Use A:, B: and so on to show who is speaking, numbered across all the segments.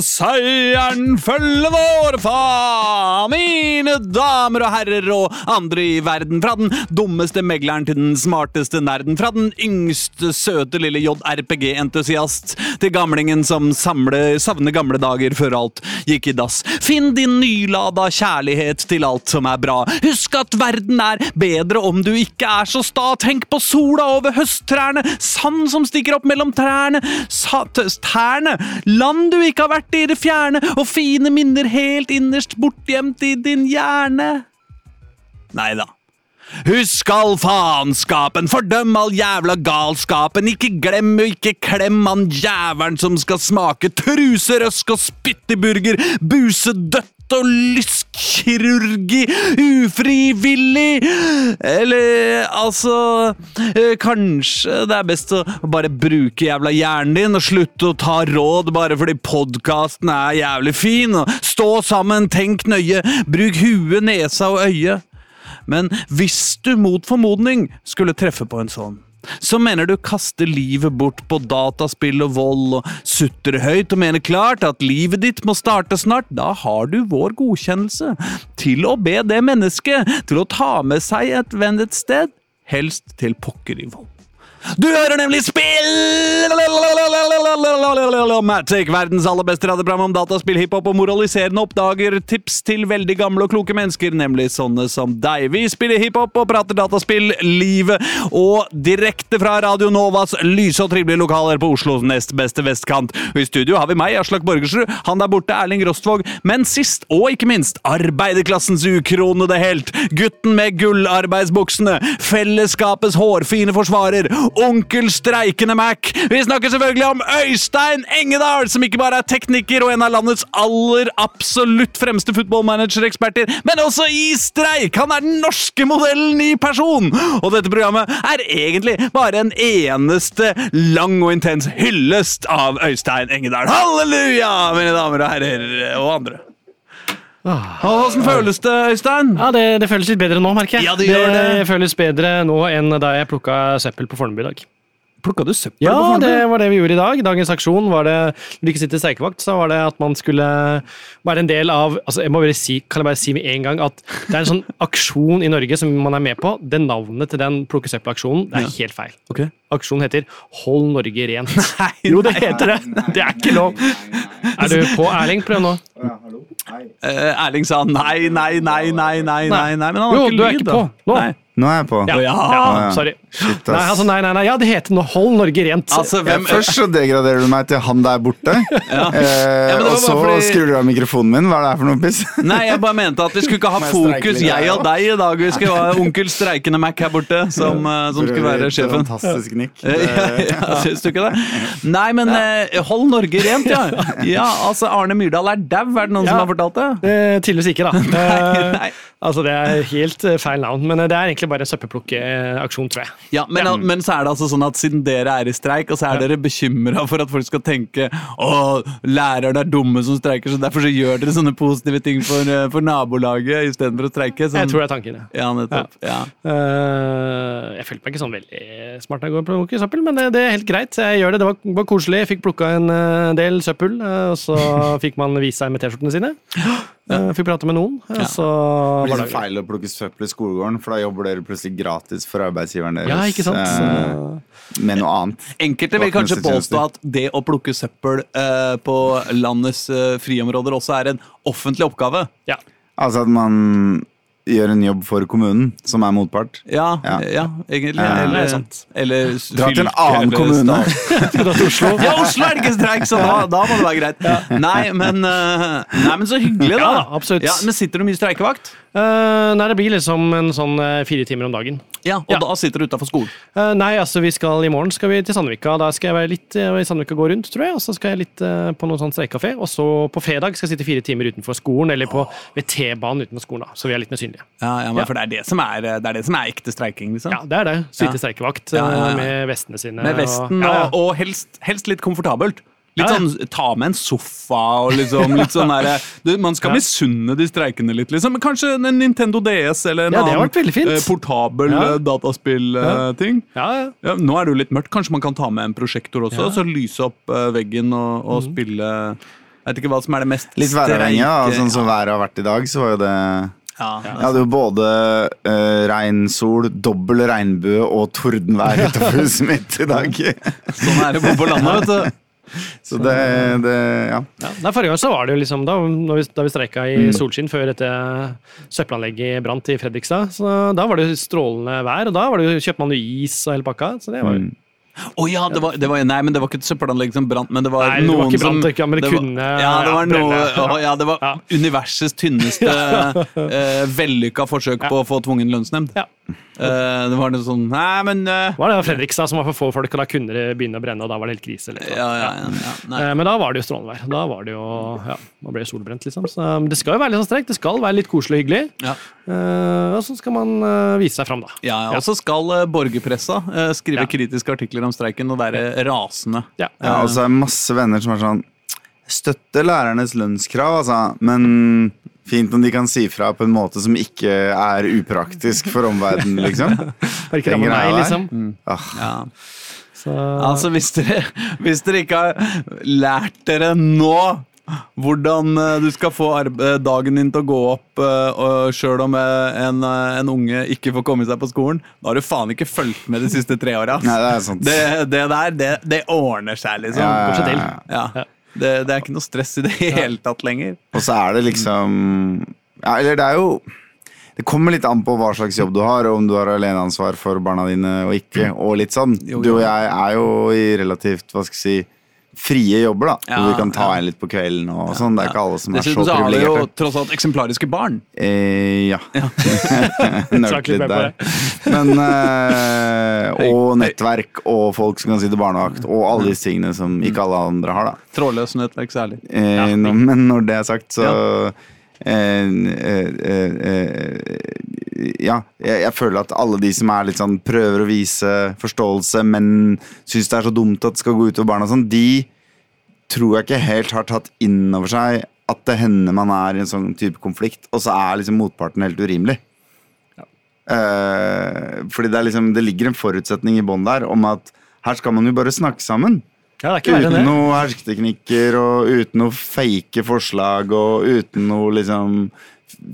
A: Seieren følger vår fa, mine damer og herrer og andre i verden. Fra den dummeste megleren til den smarteste nerden. Fra den yngste søte lille JRPG-entusiast til gamlingen som samler, savner gamle dager før alt gikk i dass. Finn din nylada kjærlighet til alt som er bra. Husk at verden er bedre om du ikke er så sta. Tenk på sola over høsttrærne, sand som stikker opp mellom trærne, sa t- tærne, land du ikke har vært i det fjerne, og fine minner helt innerst bortgjemt i din hjerne. Nei da. Husk all faenskapen, fordøm all jævla galskapen, ikke glem og ikke klem han jævelen som skal smake truserøsk og spytteburger, busedødt og lyskkirurgi, ufrivillig Eller altså eh, Kanskje det er best å bare bruke jævla hjernen din og slutte å ta råd bare fordi podkasten er jævlig fin, og stå sammen, tenk nøye, bruk huet, nesa og øyet. Men hvis du mot formodning skulle treffe på en sånn, så mener du kaster livet bort på dataspill og vold, og sutter høyt og mener klart at livet ditt må starte snart, da har du vår godkjennelse til å be det mennesket til å ta med seg et venn et sted, helst til pokker i vold. Du hører nemlig spill Matic, verdens aller beste radioprogram om dataspill, hiphop og moraliserende oppdager. Tips til veldig gamle og kloke mennesker, nemlig sånne som deg. Vi spiller hiphop og prater dataspill, livet og direkte fra Radio Novas lyse og trivelige lokaler på Oslos nest beste vestkant. Og I studio har vi meg, Aslak Borgersrud, han der borte, Erling Rostvåg, men sist og ikke minst arbeiderklassens ukronede helt, gutten med gullarbeidsbuksene, fellesskapets hårfine forsvarer, onkel Streikende Mac. Vi snakker selvfølgelig om Øystein Engedal, som ikke bare er tekniker og en av landets aller absolutt fremste fotballmanagereksperter, men også i streik! Han er den norske modellen i person! Og dette programmet er egentlig bare en eneste lang og intens hyllest av Øystein Engedal. Halleluja, mine damer og herrer, og andre. Åssen føles det, Øystein?
B: Ja, det, det føles litt bedre nå, merker jeg.
A: Ja, det gjør det.
B: føles bedre nå enn da jeg plukka søppel på Fornebu i dag.
A: Plukka du søppel
B: Ja,
A: på
B: det
A: Fornebu?
B: var det vi gjorde i dag. Dagens aksjon var det Når du ikke sitter streikevakt, så var det at man skulle være en del av altså jeg må bare si, Kan jeg bare si med en gang at det er en sånn aksjon i Norge som man er med på. Det navnet til den plukke søppel-aksjonen det er helt feil.
A: Ok.
B: Aksjonen heter Hold Norge rent.
A: Nei,
B: Jo, det
A: nei.
B: heter det! Det er ikke lov. Er du på, Erling? Prøv nå.
A: Eh, Erling sa nei, nei, nei, nei, nei, nei, nei. Men han har
B: Jo,
A: ikke
B: du er
A: lyd,
B: ikke
A: da.
B: på. Nå.
A: Nei.
C: Nå er jeg på.
A: Å, ja.
B: Ja, sorry.
C: Shit, ass.
B: Nei, altså, nei, nei, nei. Ja, det heter nå Hold Norge rent.
A: Altså,
C: Ja,
A: hvem
C: først så degraderer du meg til han der borte, eh,
A: Ja, men det var
C: og så
A: bare fordi-
C: skrur du av mikrofonen min. Hva er det her for noe piss?
A: Nei, jeg bare mente at vi skulle ikke ha
C: Må jeg streike
A: fokus,
C: litt her,
A: jeg og deg, i dag. Vi skal ha onkel Streikende Mac her borte, som, eh, som skulle være sjefen.
C: Fantastisk nikk.
A: Eh, Ja,
C: Det-
A: ja, syns du ikke det? Nei, men eh, hold Norge rent, ja. Ja, altså Arne Myrdal er dau, er det noen som
B: Ja.
A: har fortalt det?
B: Eh, tydeligvis ikke, da. Eh,
A: nei.
B: Altså, Det er helt eh, feil navn, men eh, det er egentlig bare en søppelplukkeaksjon, tror jeg.
A: Ja, men, men så er det altså sånn at siden dere er i streik, og så er dere bekymra for at folk skal tenke å, lærerne er dumme som streiker, så derfor så gjør dere sånne positive ting for, eh, for nabolaget istedenfor å streike.
C: Mm.
A: Sånn.
B: Jeg tror det er tanken, ja.
A: Ja, nettopp. Ja.
B: Eh, jeg følte meg ikke sånn veldig smart da jeg går på Loki søppel, men eh, det, det er helt greit. Jeg gjør det. Det var, var koselig. Jeg fikk plukka en eh, del søppel, eh, og så fikk man vise seg med T-skjortene sine. Eh, fikk prate med noen, og så
C: Det blir
B: var
C: så
B: det
C: feil å plukke søppel i skolegården, for da jobber dere plutselig gratis for arbeidsgiveren deres
B: Ja, ikke sant?
C: eh, med noe annet.
A: Enkelte vil kanskje påstå at det å plukke søppel eh, på landets eh, friområder også er en offentlig oppgave.
B: Ja.
C: Altså at man gjør en jobb for kommunen, som er motpart.
A: Ja, ja.
C: Ja.
A: egentlig.
C: Ja,
A: eller,
B: det er sant.
A: eller
C: Dra til en
A: fylke,
C: annen
A: eller
C: kommune.
A: stat.
B: Dra til Oslo.
A: Ja, Oslo er det ikke streik, så da, da må det være greit. Nei, men, eh, nei, men så hyggelig, da.
B: Ja da, absolutt.
A: Ja, men sitter du mye streikevakt?
B: Eh, nei, det blir liksom en sånn eh, fire timer om dagen.
A: Ja, Og
B: Ja.
A: da sitter du utafor skolen.
B: Eh, nei, altså vi skal i morgen skal vi til Sandvika. Da skal jeg være litt eh, i Sandvika gå rundt, tror jeg. Og så skal jeg litt eh, på noen sånn streikekafé. Og så på fredag skal jeg sitte fire timer utenfor skolen, eller på, ved T-banen utenfor skolen. da, Så vi er litt mer synlige.
A: Ja, ja, men For det er det som er, det er, det som er ekte streiking. liksom.
B: Ja, det er det.
A: Ja.
B: Sitte streikevakt
A: Ja, ja, ja.
B: eh, med vestene sine.
A: Med vesten
B: og, ja, ja.
A: og, og helst, helst litt komfortabelt. Litt
B: Ja, ja.
A: sånn, Ta med en sofa og liksom litt sånn derre du, Man skal
B: Ja.
A: misunne de streikende litt, liksom. Men kanskje en Nintendo DS eller en
B: Ja, det har vært
A: annen
B: veldig fint.
A: eh, portabel
B: Ja.
A: eh, dataspill-ting.
B: Ja, ja.
A: Ja, nå er det jo litt mørkt. Kanskje man kan ta med en prosjektor også,
B: Ja. Mhm.
A: så lyse opp eh, veggen og, og spille Jeg vet ikke hva som er det mest
C: Litt væravhengig. Ja.
A: streike-
C: Sånn som været har vært i dag, så var jo det
A: ja.
C: Jeg hadde jo både uh, regnsol, dobbel regnbue og tordenvær utenfor huset mitt i dag.
A: Sånn er det å bo på landet, vet du.
C: Så det, det Ja.
B: Ja. Nei, forrige gang så var det jo liksom da, når vi, da vi streika i
A: Mm.
B: solskinn før dette søppelanlegget brant i Fredrikstad. Så da var det jo strålende vær, og da var det jo, kjøpte man jo is og hele pakka. Så det var jo
A: Mm. Å ja, det var, det var, nei, men det var ikke et søppelanlegg som brant, men det var
B: Nei, det var
A: noen
B: ikke brant,
A: som
B: ikke, men det
A: var-
B: kunne-
A: Ja, det var,
B: ja,
A: noe,
B: brenne.
A: å, ja, det var
B: Ja.
A: universets tynneste eh, vellykka forsøk på å få tvungen lønnsnemnd.
B: Ja.
A: Eh, det var noe sånn Nei, men eh,
B: var det Fredrikstad som var for få folk, og da kunne det begynne å brenne, og da var det helt krise. Liksom.
A: ja, ja, ja, ja, nei.
B: Eh, Men da var det jo strålende vær. Da var det jo, ja, man ble solbrent, liksom. Så um, det skal jo være litt sånn strekt. Det skal være litt koselig og hyggelig.
A: Ja.
B: Eh, og så skal man eh, vise seg fram, da.
A: Ja, ja, og så skal eh, borgerpressa eh, skrive
B: Ja.
A: kritiske artikler om streiken og være rasende.
B: Ja.
C: Ja, og så er det masse venner som er sånn Støtter lærernes lønnskrav, altså. Men fint om de kan si fra på en måte som ikke er upraktisk for omverdenen, liksom.
B: Bare ikke ramme
C: Den greia
B: meg,
C: der.
B: liksom.
C: Ah,
A: Ja.
B: Så,
A: Altså, hvis dere, hvis dere ikke har lært dere nå hvordan eh, du skal få arb- eh, dagen din til å gå opp uh, sjøl om eh, en, eh, en unge ikke får komme seg på skolen, da har du faen ikke fulgt med de siste tre åra.
C: Nei, det er sant.
A: Det, det der, det, det ordner seg, liksom.
C: Ja,
B: Kanskje
C: ja,
B: til.
C: ja, ja.
A: Ja.
B: Ja.
A: Det, det er ikke noe stress i det hele tatt lenger.
C: Og så er det liksom ja, Eller det er jo Det kommer litt an på hva slags jobb du har, og om du har aleneansvar for barna dine og ikke. Og litt sånn.
A: Jo, jo.
C: Du og jeg er jo i relativt hva skal jeg si, frie jobber, da.
A: Ja,
C: hvor vi kan ta
A: ja.
C: en litt på kvelden og sånn. Det er ikke alle som er så
A: Dessuten så har du jo
C: privilegerte.
A: tross alt eksemplariske barn.
C: Eh, ja.
B: Trakk
C: Nølt
B: litt
C: litt
B: mer på
C: der. Men, eh, og nettverk og folk som kan sitte barnevakt, og alle disse tingene som ikke alle andre har. da.
A: Trådløst nettverk særlig.
C: Eh,
B: Ja.
C: nå- men når det er sagt, så eh, eh, eh, eh, Ja, jeg, jeg føler at alle de som er litt sånn prøver å vise forståelse, men syns det er så dumt at det skal gå utover barna og sånn, de tror jeg ikke helt har tatt inn over seg at det hender man er i en sånn type konflikt, og så er liksom motparten helt urimelig. Eh, fordi det, er liksom, det ligger en forutsetning i bånn der om at her skal man jo bare snakke sammen.
B: ja, det er ikke verre
C: Uten
B: enn det.
C: noe hersketeknikker og uten noe fake forslag og uten noe liksom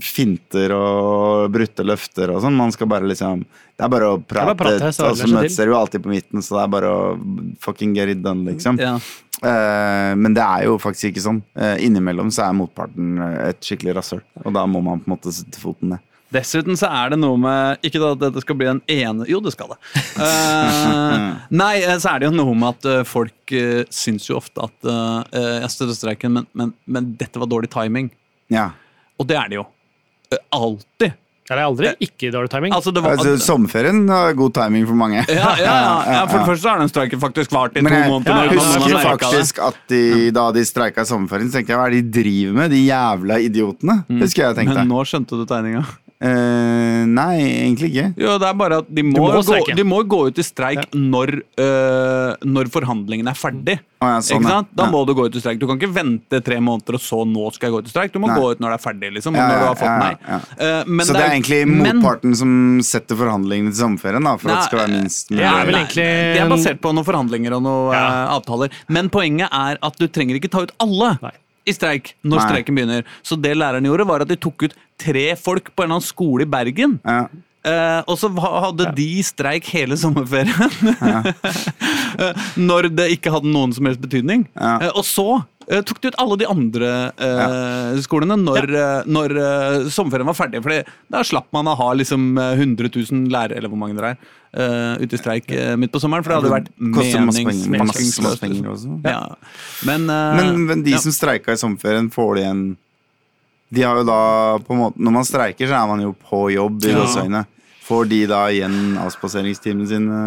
C: finter og brutte løfter og sånn. Man skal bare liksom Det er bare å prate,
B: bare prate, så
C: og
B: ordner det
C: så
B: seg
C: møtes
B: til.
C: dere jo alltid på midten, så det er bare å fucking get it done, liksom.
A: Ja.
C: Eh, men det er jo faktisk ikke sånn. Eh, innimellom så er motparten eh, et skikkelig rasshøl, og da må man på en måte sette foten ned.
A: Dessuten så er det noe med Ikke da at dette skal bli en ene Jo, det skal det. Eh, nei, eh, så er det jo noe med at eh, folk uh, syns jo ofte at eh, eh, Jeg støtter streiken, men, men, men dette var dårlig timing.
C: Ja.
A: Og det er det jo. Eh, Alltid.
B: Ja, Det er aldri ikke dårlig timing.
A: altså, det var
C: Altså, sommerferien har god timing for mange.
A: ja, ja, ja, ja, for det første så har den streiken faktisk vart i to
C: Men jeg
A: måneder.
B: ja,
A: nå, man har
C: husker
A: merket det.
C: faktisk at de, da de streika i sommerferien, så tenkte jeg hva er det de driver med, de jævla idiotene? Husker jeg jeg
A: Mm.
C: tenkte.
A: Men nå skjønte du tegninga.
C: Eh, nei, egentlig ikke.
A: Jo, det er bare at de må,
B: må
A: gå,
B: streike.
A: de må gå ut i streik når, øh, når forhandlingene er ferdig.
C: Å ja, sånn,
A: ikke
C: ja.
A: sant? Da
C: Ja.
A: må du gå ut i streik. Du kan ikke vente tre måneder og så nå skal jeg gå ut i streik. Du må
C: Nei.
A: gå ut når det er ferdig, liksom.
C: Ja,
A: når du
C: ja,
A: har fått
C: ja,
A: nei.
C: ja.
A: Eh, men
C: så det er egentlig
A: men-
C: motparten som setter forhandlingene til sommerferien, da, for
A: Nei,
C: at det skal være minst mulig.
B: det er vel
A: Nei,
B: egentlig
A: Det er basert på noen forhandlinger og noen
B: Ja.
A: eh, avtaler. Men poenget er at du trenger ikke ta ut alle
B: Nei.
A: i streik når
C: Nei.
A: streiken begynner. Så det læreren gjorde, var at de tok ut tre folk på en eller annen skole i Bergen.
C: Ja.
A: Eh, og så ha- hadde de streik hele sommerferien. Eh, Når det ikke hadde noen som helst betydning.
C: Ja.
A: Eh, og så eh, tok de ut alle de andre eh, skolene når, eh, når eh, sommerferien var ferdig. For da slapp man å ha liksom eh, 100 000 lærere, eller hvor mange dere er, eh, ute i streik eh, midt på sommeren. For det hadde vært
C: Koster masse penger,
A: menings-
C: masse, masse penger
A: meningsløst.
C: også.
A: Ja. Men, eh,
C: Men, men de
A: ja.
C: som streika i sommerferien, får de en De har jo da på en måte Når man streiker, så er man jo på jobb i
A: Ja.
C: gåseøyne. Får de da igjen avspaseringstimene sine?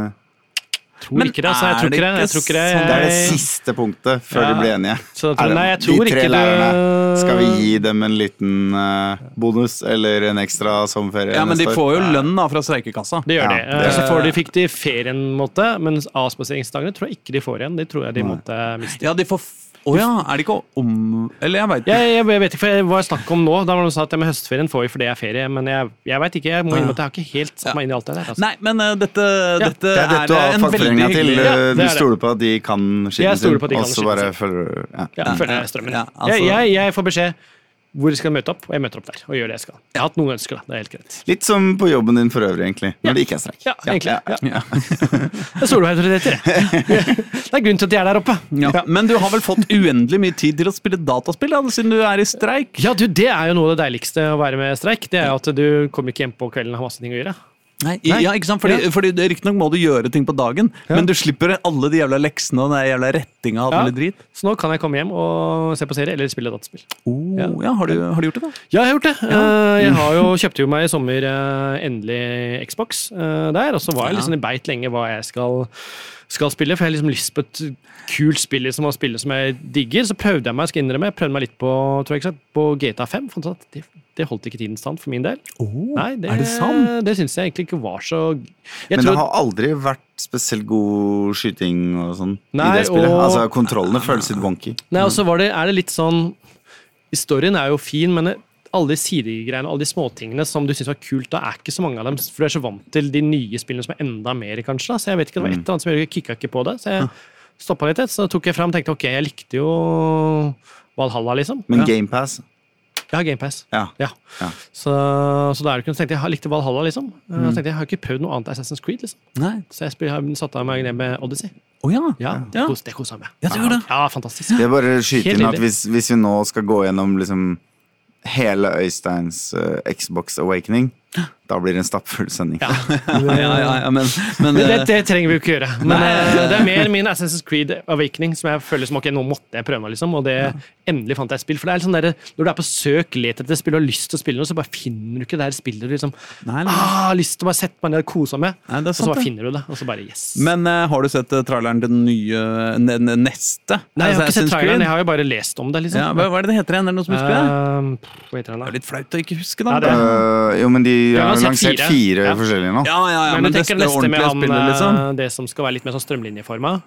B: Tror
A: Men
B: ikke det, altså. Jeg
A: er
B: tror
A: det
B: ikke det. Jeg
A: ikke
B: tror ikke det.
A: sånn-
C: Det er det
B: Jeg-
C: siste punktet før
B: Ja.
C: de blir enige.
B: Så jeg tror-
C: Er det
B: nei, jeg tror
C: de tre
B: ikke du-
C: lærerne, skal vi gi dem en liten eh, bonus eller en ekstra sommerferie?
A: Ja, men de
C: neste år?
A: får jo lønn da fra streikekassa.
B: Det gjør
C: Ja,
B: de. Eh,
C: det-
B: Så får de, fikk de ferien, på en måte, mens avspaseringsdagene tror jeg ikke de får igjen. De tror jeg de
C: Nei.
B: måtte miste.
A: Ja, de får f- Å ja, er det ikke om... Eller jeg veit ikke.
B: Jeg, jeg, jeg vet ikke for jeg- hva jeg snakker om nå. Da var det noen som sa at ja, men høstferien får vi fordi det er ferie. Men jeg, jeg vet ikke. Jeg må innrømme at jeg har ikke helt satt meg inn i alt det der. Altså.
A: Nei, men eh, dette, dette
C: Det er
A: er, eh,
C: dette du har
A: en veldig
C: fagforeninga til. eh,
A: hyggelig
B: Ja, det er
C: du
B: det.
C: stoler på at de kan
B: Jeg stoler
C: skitten sin,
B: på at de kan
C: og så
B: skitten sin.
C: bare følger du ja.
B: Ja, følger jeg strømmen.
A: ja, altså-
B: jeg, jeg, jeg får beskjed hvor jeg skal møte opp, og jeg møter opp der. Og gjør det jeg skal. Jeg har hatt noen ønsker, da. Det er helt greit.
C: Litt som på jobben din for øvrig, egentlig. Når det ikke er streik.
B: Ja, egentlig. Ja.
C: eh,
A: Ja.
B: Jeg stoler på autoriteter, jeg. Det er grunnen til at de er der oppe.
A: Ja. Men du har vel fått uendelig mye tid til å spille dataspill, da, siden du er i streik?
B: Ja, du, det er jo noe av det deiligste å være med streik. Det er jo at du kommer ikke hjem på kvelden og har masse ting å gjøre.
A: Nei, i- ja, ikke sant? Fordi,
B: Ja.
A: fordi det- Riktignok må du gjøre ting på dagen,
B: Ja.
A: men du slipper alle de jævla leksene og den jævla rettinga og all
B: Ja.
A: mulig drit.
B: Så nå kan jeg komme hjem og se på serie eller spille dataspill.
A: Oh, ja.
B: Ja.
A: har, du, har du gjort det, da?
B: Ja, jeg har gjort det. Eh, Jeg har jo, kjøpte jo meg i sommer eh, endelig Xbox eh, der, og så var jeg liksom i beit lenge hva jeg skal, skal spille, for jeg har liksom lyst på et kult spill liksom, å spille som jeg digger. Så prøvde jeg meg, skal jeg innrømme, jeg prøvde meg litt på, tror jeg ikke sant, på GTA 5. Fant ut at det, det holdt ikke tiden stand for min del. Nei, det,
A: Oh, er det sant?
B: Det syns jeg egentlig ikke var så jeg
C: Men
B: tror
C: det har aldri vært spesielt god skyting og sånn i
B: Nei,
C: det spillet.
B: og-
C: Altså, kontrollene føles litt wonky.
B: Nei, og så var det, er det litt sånn Storyen er jo fin, men det- alle de sidegreiene alle de småtingene som du syns var kult, da er ikke så mange av dem. For du er så vant til de nye spillene som er enda mer, kanskje. Da. Så jeg vet ikke, det var
A: Mm.
B: et eller annet som gjorde jeg kikka ikke på det. Så jeg stoppa litt, så tok jeg fram tenkte ok, jeg likte jo Valhalla, liksom.
C: Men
B: ja.
C: GamePass
B: Jeg har GamePass.
C: ja.
B: Ja.
C: Ja.
B: Så, så da er det ikke noe- så tenkte jeg jeg likte Valhalla, liksom.
A: Mm.
B: Så tenkte jeg, jeg har ikke prøvd noe annet Assassin's Creed, liksom.
A: Nei.
B: Så jeg spil- har satt av meg ned med Odyssey.
A: Å ja.
B: Ja, det
A: Ja.
B: kos- det kosa meg.
A: Ja, det gjorde det.
B: Ja, fantastisk.
C: Det er bare å skyte
B: Helt
C: inn at
B: nydelig.
C: hvis, hvis vi nå skal gå gjennom liksom hele Øysteins eh, Xbox Awakening, da blir det en stappfull sending.
B: Ja.
A: Ja, ja, ja, ja, men, men,
B: Men det,
A: eh,
B: det trenger vi jo ikke gjøre. Men eh, det er mer min Assassin's Creed Awakening som jeg føler som ok, nå måtte jeg prøve meg, liksom. Og det endelig fant jeg et spill. For det er litt sånn der, når du er på søk, let etter et spill og har lyst til å spille noe, så bare finner du ikke det her spillet du liksom
A: Nei, nei.
B: ah, har lyst til å bare sette meg ned og kose meg med.
A: Nei, det er
B: Og så
A: Mm. sant,
B: bare
A: det.
B: finner du det, og så bare yes.
A: men eh, har du sett eh, traileren til den nye eh, ne, ne, neste? Altså,
B: Nei, jeg har ikke
A: Assassin's
B: sett traileren,
A: Creed?
B: jeg har jo bare lest om det,
A: Ja,
B: liksom.
A: hva, hva er det det heter igjen? Er det noe som husker det?
B: Ehm, pff, hva heter den
A: Det
B: da?
A: er litt flaut å ikke huske,
B: Ja,
A: da.
B: det er-
C: Øh, jo, men de
B: har
C: har jo
B: lansert
C: lansert
B: fire.
C: fire,
B: Ja.
C: forskjellige nå.
A: ja, ja, ja,
B: Men jeg tenker
A: det
B: neste med
A: ordentlige
B: han,
A: spillet, liksom.
B: eh, det som skal være litt mer sånn strømlinjeforma.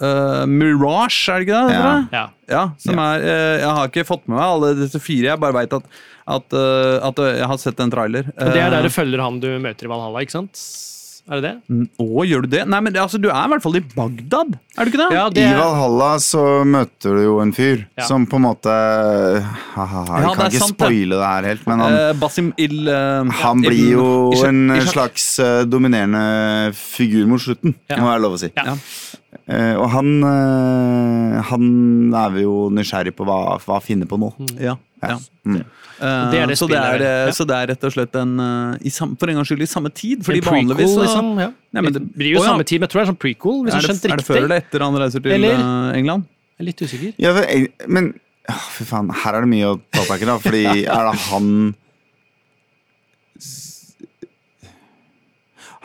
A: Eh, Mirage, er det ikke det?
C: Ja.
A: Ja.
B: Ja.
A: ja som er eh, Jeg har ikke fått med meg alle disse fire. Jeg bare veit at, at, eh, at jeg har sett en trailer.
B: Og det er der du følger han du møter i Valhalla, ikke sant? Er det det?
A: Eh, Å, gjør du det? Nei, men altså, du er i hvert fall i Bagdad, er du ikke det?
B: Ja,
C: I
B: det er,
C: Valhalla så møter du jo en fyr
B: Ja.
C: som på en måte ha-ha, Jeg
A: Ja, det er
C: kan ikke
A: sant, det.
C: spoile det her helt, men han,
A: Eh, Basim Il... eh,
C: han
A: Ibn-
C: blir jo
A: Ishak-
C: en
A: Ishak.
C: slags øh, dominerende figur mot slutten,
B: Ja.
C: må jeg lov å si.
B: ja.
C: Eh, og han, eh, han er vi jo nysgjerrig på hva, hva han finner på nå.
A: Ja. ja.
C: Mm.
A: Eh,
B: det er det
A: så, det er,
B: spillet,
A: eh,
B: ja.
A: så det er rett og slett en eh, i sam, For en gangs skyld i samme tid, fordi
B: En prequel,
A: vanligvis så
B: liksom, ja.
A: Nei, men
B: det
A: det-
B: blir jo
A: Å, ja.
B: samme tid, men jeg tror det er sånn prequel. Hvis
A: er,
B: jeg
A: det,
B: skjønte
A: er det
B: riktig.
A: før eller etter han reiser til
B: Eller-
A: eh, England?
B: Jeg er litt usikker.
C: Ja, for, jeg- men åh, fy faen, her er det mye å ta tak i, da. Fordi er det han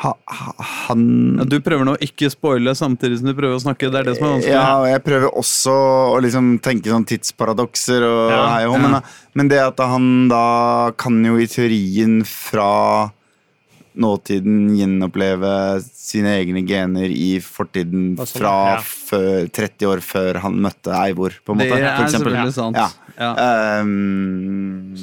C: ha, ha, Han
A: Ja, du prøver nå å ikke spoile samtidig som du prøver å snakke. Det er det som er vanskelig.
C: Ja, og jeg prøver også å liksom tenke sånn tidsparadokser og
B: Ja,
C: hei og hå, men, men det at han da kan jo i teorien fra nåtiden gjenoppleve sine egne gener i fortiden
B: Og sånn,
C: fra
B: ja.
C: før, 30 år før han møtte Eivor, på en
A: Det
C: måte. for
A: er
C: eksempel.
A: selvfølgelig sant.
C: Ja.
A: Ja.
C: Ehm,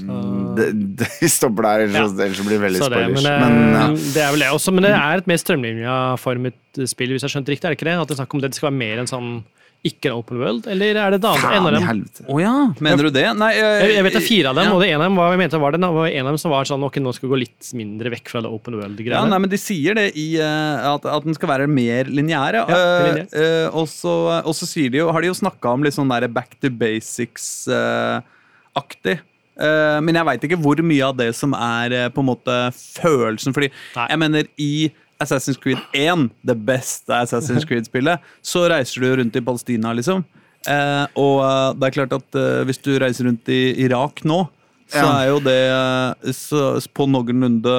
C: det, det, vi stopper der, ellers,
B: Ja.
C: ellers blir det veldig
B: Så det, men,
C: spoilers.
B: eh,
C: Men, ja.
B: det er vel det også. Men det er et mer strømlinjeformet spill, hvis jeg skjønte riktig. er det ikke det? At det er snakk om det, det skal være mer en sånn ikke en open world, eller er det da en av
C: faen i
B: dem?
C: helvete.
A: Å ja, mener du det? Nei, eh,
B: Jeg, jeg vet det er fire av dem,
A: Ja.
B: og det ene av dem var, jeg mente var den, da, var en av dem som var sånn ok, nå skal vi gå litt mindre vekk fra det open
A: Ja,
B: world-greiene.
A: nei, men De sier det i eh, at, at den skal være mer lineære.
B: Ja,
A: Eh, eh, og så- og så sier de jo, har de jo snakka om litt sånn der back to basics-aktig. Eh, men jeg veit ikke hvor mye av det som er eh, på en måte følelsen. Fordi
B: Nei.
A: jeg mener i Assassin's Creed 1, det beste Assassin's Creed-spillet, så reiser du rundt i Palestina, liksom. Eh, og eh, det er klart at eh, hvis du reiser rundt i Irak nå så
C: Ja.
A: er jo det eh, så, på noenlunde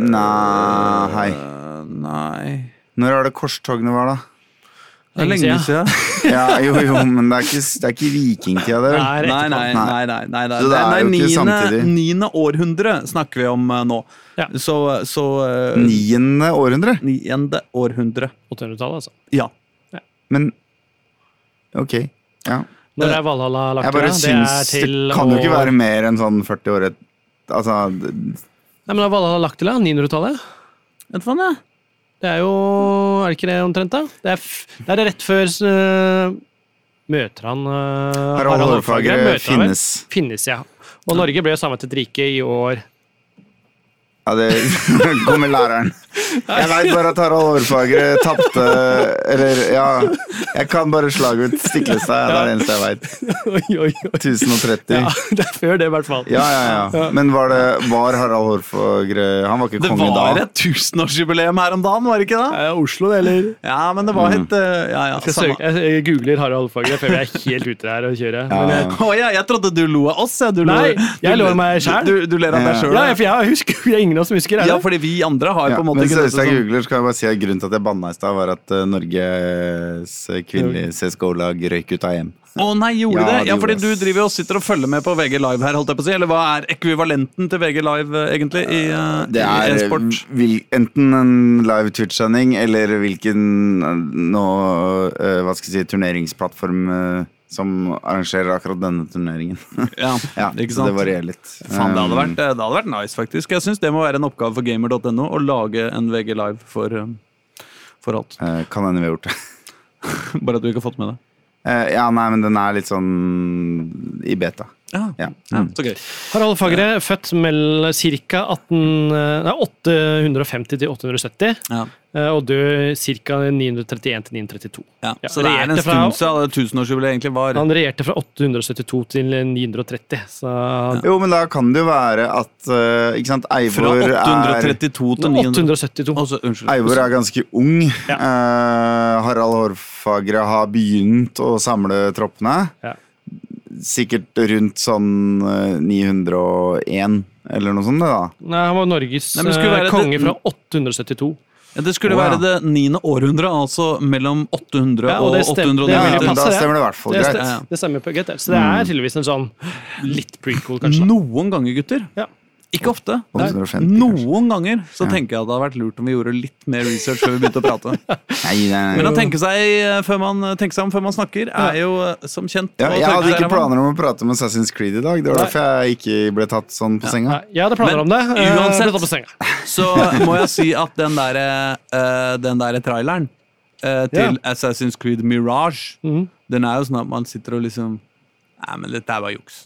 C: Nei, hei.
A: Eh, Nei.
C: Når var det korstogene var, da?
A: Det er lenge siden.
C: Ja, jo, jo, men det er ikke, det er ikke vikingtida, det. vel?
B: Nei.
A: Nei, nei,
C: Nei.
A: nei. nei, nei, nei.
C: Så det er jo ikke samtidig.
A: Niende århundre snakker vi om eh, nå.
B: Ja.
A: Så, så eh,
C: Niende århundre?
A: Niende århundre.
B: 800-tallet, altså.
A: Ja.
C: Men ok. Ja.
B: Når
A: Eh,
B: er Valhalla lagt
C: Jeg bare
B: ned? Det er
C: syns det,
B: til
C: kan jo ikke
B: år-
C: være mer enn sånn 40 år et- Altså
B: Nei, men er Valhalla lagt til, da? 900-tallet?
A: Vet du hva det er?
B: Det er jo Er det ikke det omtrent, da? Det er, f det er rett før øh, møter han øh,
C: Harald
B: Hårfagre,
C: Hårfagre
B: møter han vel?
C: finnes.
B: Finnes, ja. Og Norge ble jo samlet til et rike i år
C: Ja, det Gå med læreren. Jeg veit bare at Harald Hårfagre tapte Eller, ja Jeg kan bare slaget ut Stiklestad. Det er det eneste jeg veit.
B: Oi, oi, oi.
C: 1030.
B: Ja, det er før det, i hvert fall.
C: Ja, ja, ja. Men var det Var Harald Hårfagre Han var ikke
A: Det
C: konge
A: var
C: da?
A: et tusenårsjubileum her om dagen, var det ikke det?
B: Er det Oslo, det, eller?
A: Ja, men det var
C: Mm.
A: et eh, Ja, ja.
B: Jeg, skal
A: samme.
B: søke, jeg jeg googler Harald Hårfagre før jeg er helt ute her og kjører.
C: Ja,
B: Men
C: ja.
B: jeg,
A: Eh, Å ja, jeg trodde du lo av oss. Ja. Du
B: Nei,
A: lo,
B: jeg
A: du-
B: lo av meg selv.
A: Du, du ler av deg
C: Ja.
A: sjøl?
B: ja, for jeg husker det er ingen av oss som husker, er det?
A: Ja, fordi vi andre har jo
C: Ja,
A: på en måte
C: men
A: ikke sånn-
C: seriøst,
A: dette
C: jeg
A: som-
C: googler, så kan jeg bare si at grunnen til at jeg banna i stad, var at eh, Norges kvinnelige CSGO-lag røyk ut av EM.
A: Å nei, gjorde
C: Ja,
A: det?
C: det
A: Ja,
C: gjorde
A: fordi
C: det.
A: du driver og sitter og følger med på VG Live her, holdt jeg på å si. Eller hva er ekvivalenten til VG Live, eh, egentlig, i, eh,
C: Det
A: i
C: er
A: e-sport?
C: vil, enten en live Twitch-sending eller hvilken eh, nå, eh, hva skal jeg si, turneringsplattform eh, som arrangerer akkurat denne turneringen.
A: Ja,
C: ja,
A: ikke
C: Så
A: sant?
C: det varierer litt.
A: Faen, det hadde,
C: Um,
A: vært, eh, det hadde vært nice, faktisk. Jeg syns det må være en oppgave for gamer.no å lage en VG Live for, eh, for alt.
C: eh, Kan hende vi har gjort det.
A: Bare at du ikke har fått med det.
C: Eh, ja, nei, men den er litt sånn i beta.
A: Ja,
C: Ja. Mm.
A: ja så gøy.
B: Harald Fagre, født mellom ca. 850 til 870,
A: Ja.
B: eh, og død ca. 931 til 932.
A: Ja.
B: Ja,
A: Så det er en
B: regjerte fra-
A: stund siden det tusenårsjubileet egentlig var.
B: Han regjerte fra 872 til 930, så
C: Jo, men da kan det jo være at eh, ikke sant,
A: Fra
C: Eivor er
A: 832 til 900
B: 872.
A: Altså, Unnskyld.
C: Eivor er ganske ung. Eh, Harald Hårfagre har begynt å samle troppene.
B: Ja.
C: Sikkert rundt sånn eh, 901 eller noe sånt, det da.
B: Nei, han var Norges
A: Nei, men det skulle
B: eh,
A: være
B: konge
A: det-
B: fra 872.
A: Ja, Det skulle
C: Wow.
A: være det niende århundret, altså mellom 800
B: Ja, og
A: og
B: det stem- det
C: Ja,
B: vil jo
C: ja, men
A: 890.
B: passe,
C: da
B: det.
C: stemmer det i hvert fall
B: Det,
C: greit.
B: det, det stemmer på greit. det. Så det
A: Mm.
B: er tydeligvis en sånn litt prequel, kanskje. da.
A: Noen ganger, gutter.
B: Ja.
A: Ikke ofte.
C: 850, kanskje.
A: Noen ganger så tenker jeg at det hadde vært lurt om vi gjorde litt mer research før vi begynte å prate.
C: Nei, nei, nei.
A: Men å tenke seg, eh, før man, tenke seg om før man snakker, er jo eh, som kjent
C: ja,
A: å
C: jeg
A: tenke
C: hadde
A: seg
C: ikke
A: ræva.
C: planer om å prate om Assassin's Creed i dag. Det var
B: Nei.
C: derfor jeg ikke ble tatt sånn på senga.
B: Nei, Jeg hadde planer
A: Men
B: om det. eh,
A: uansett-
B: ble tatt på senga.
A: Så eh, må jeg si at den derre eh, Den derre traileren eh, til Assassin's Creed Mirage,
B: Mm.
A: den er jo sånn at man sitter og liksom Nei, men dette er bare juks.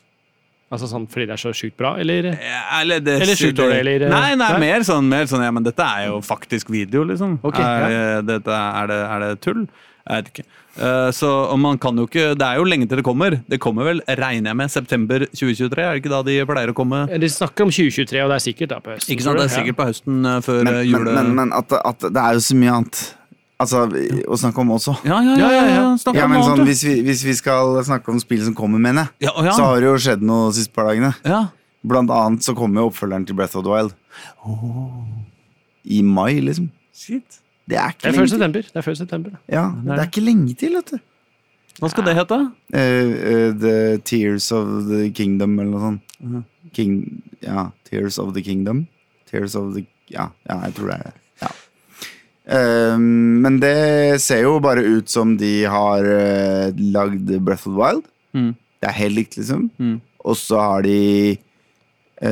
B: Altså sånn fordi det er så sjukt bra, eller?
A: Ja, Eh, Eller, det,
B: Eller skjuter det, eller-
A: Nei, nei,
B: Nei?
A: Mer, sånn, mer sånn Ja, men dette er jo faktisk video, liksom.
B: Ok,
A: er,
B: ja.
A: det- dette, er, det, er det tull? Jeg vet ikke. Eh, så og man kan jo ikke Det er jo lenge til det kommer. Det kommer vel, regner jeg med, september 2023? Er det ikke da de pleier å komme?
B: Eh, De snakker om 2023, og det er sikkert da på høsten.
A: Ikke sant,
B: tror
A: Det
B: jeg.
A: er sikkert på høsten eh, før
C: Men,
A: eh,
C: men,
A: jule...
C: men, men at, at det er jo så mye annet altså, å snakke om også.
A: ja, ja, ja, ja, ja. Snakk
C: Ja,
A: om
C: men
A: noe
C: sånn,
A: annet,
C: hvis, vi, hvis vi skal snakke om spill som kommer, mener
A: du.
C: jeg,
A: Ja, å, ja.
C: så har det jo skjedd noe de siste par dagene.
A: ja.
C: Blant annet så kommer jo oppfølgeren til Breath of the Wild. I mai, liksom.
A: Shit.
C: Det er
B: Det
C: ikke
B: er før
C: lenge til.
B: september. Det er før september.
C: Ja, det er ikke lenge til, vet du.
A: Hva skal det hete?
C: Eh, eh, the Tears of the Kingdom, eller noe sånt.
A: Mhm.
C: King, ja, Tears of the Kingdom. Tears of the Ja, ja jeg tror det er det. Ja. Eh, men det ser jo bare ut som de har eh, lagd Breath of the Wild.
A: Mm.
C: Det er helt likt, liksom.
A: Mm.
C: Og så har de eh,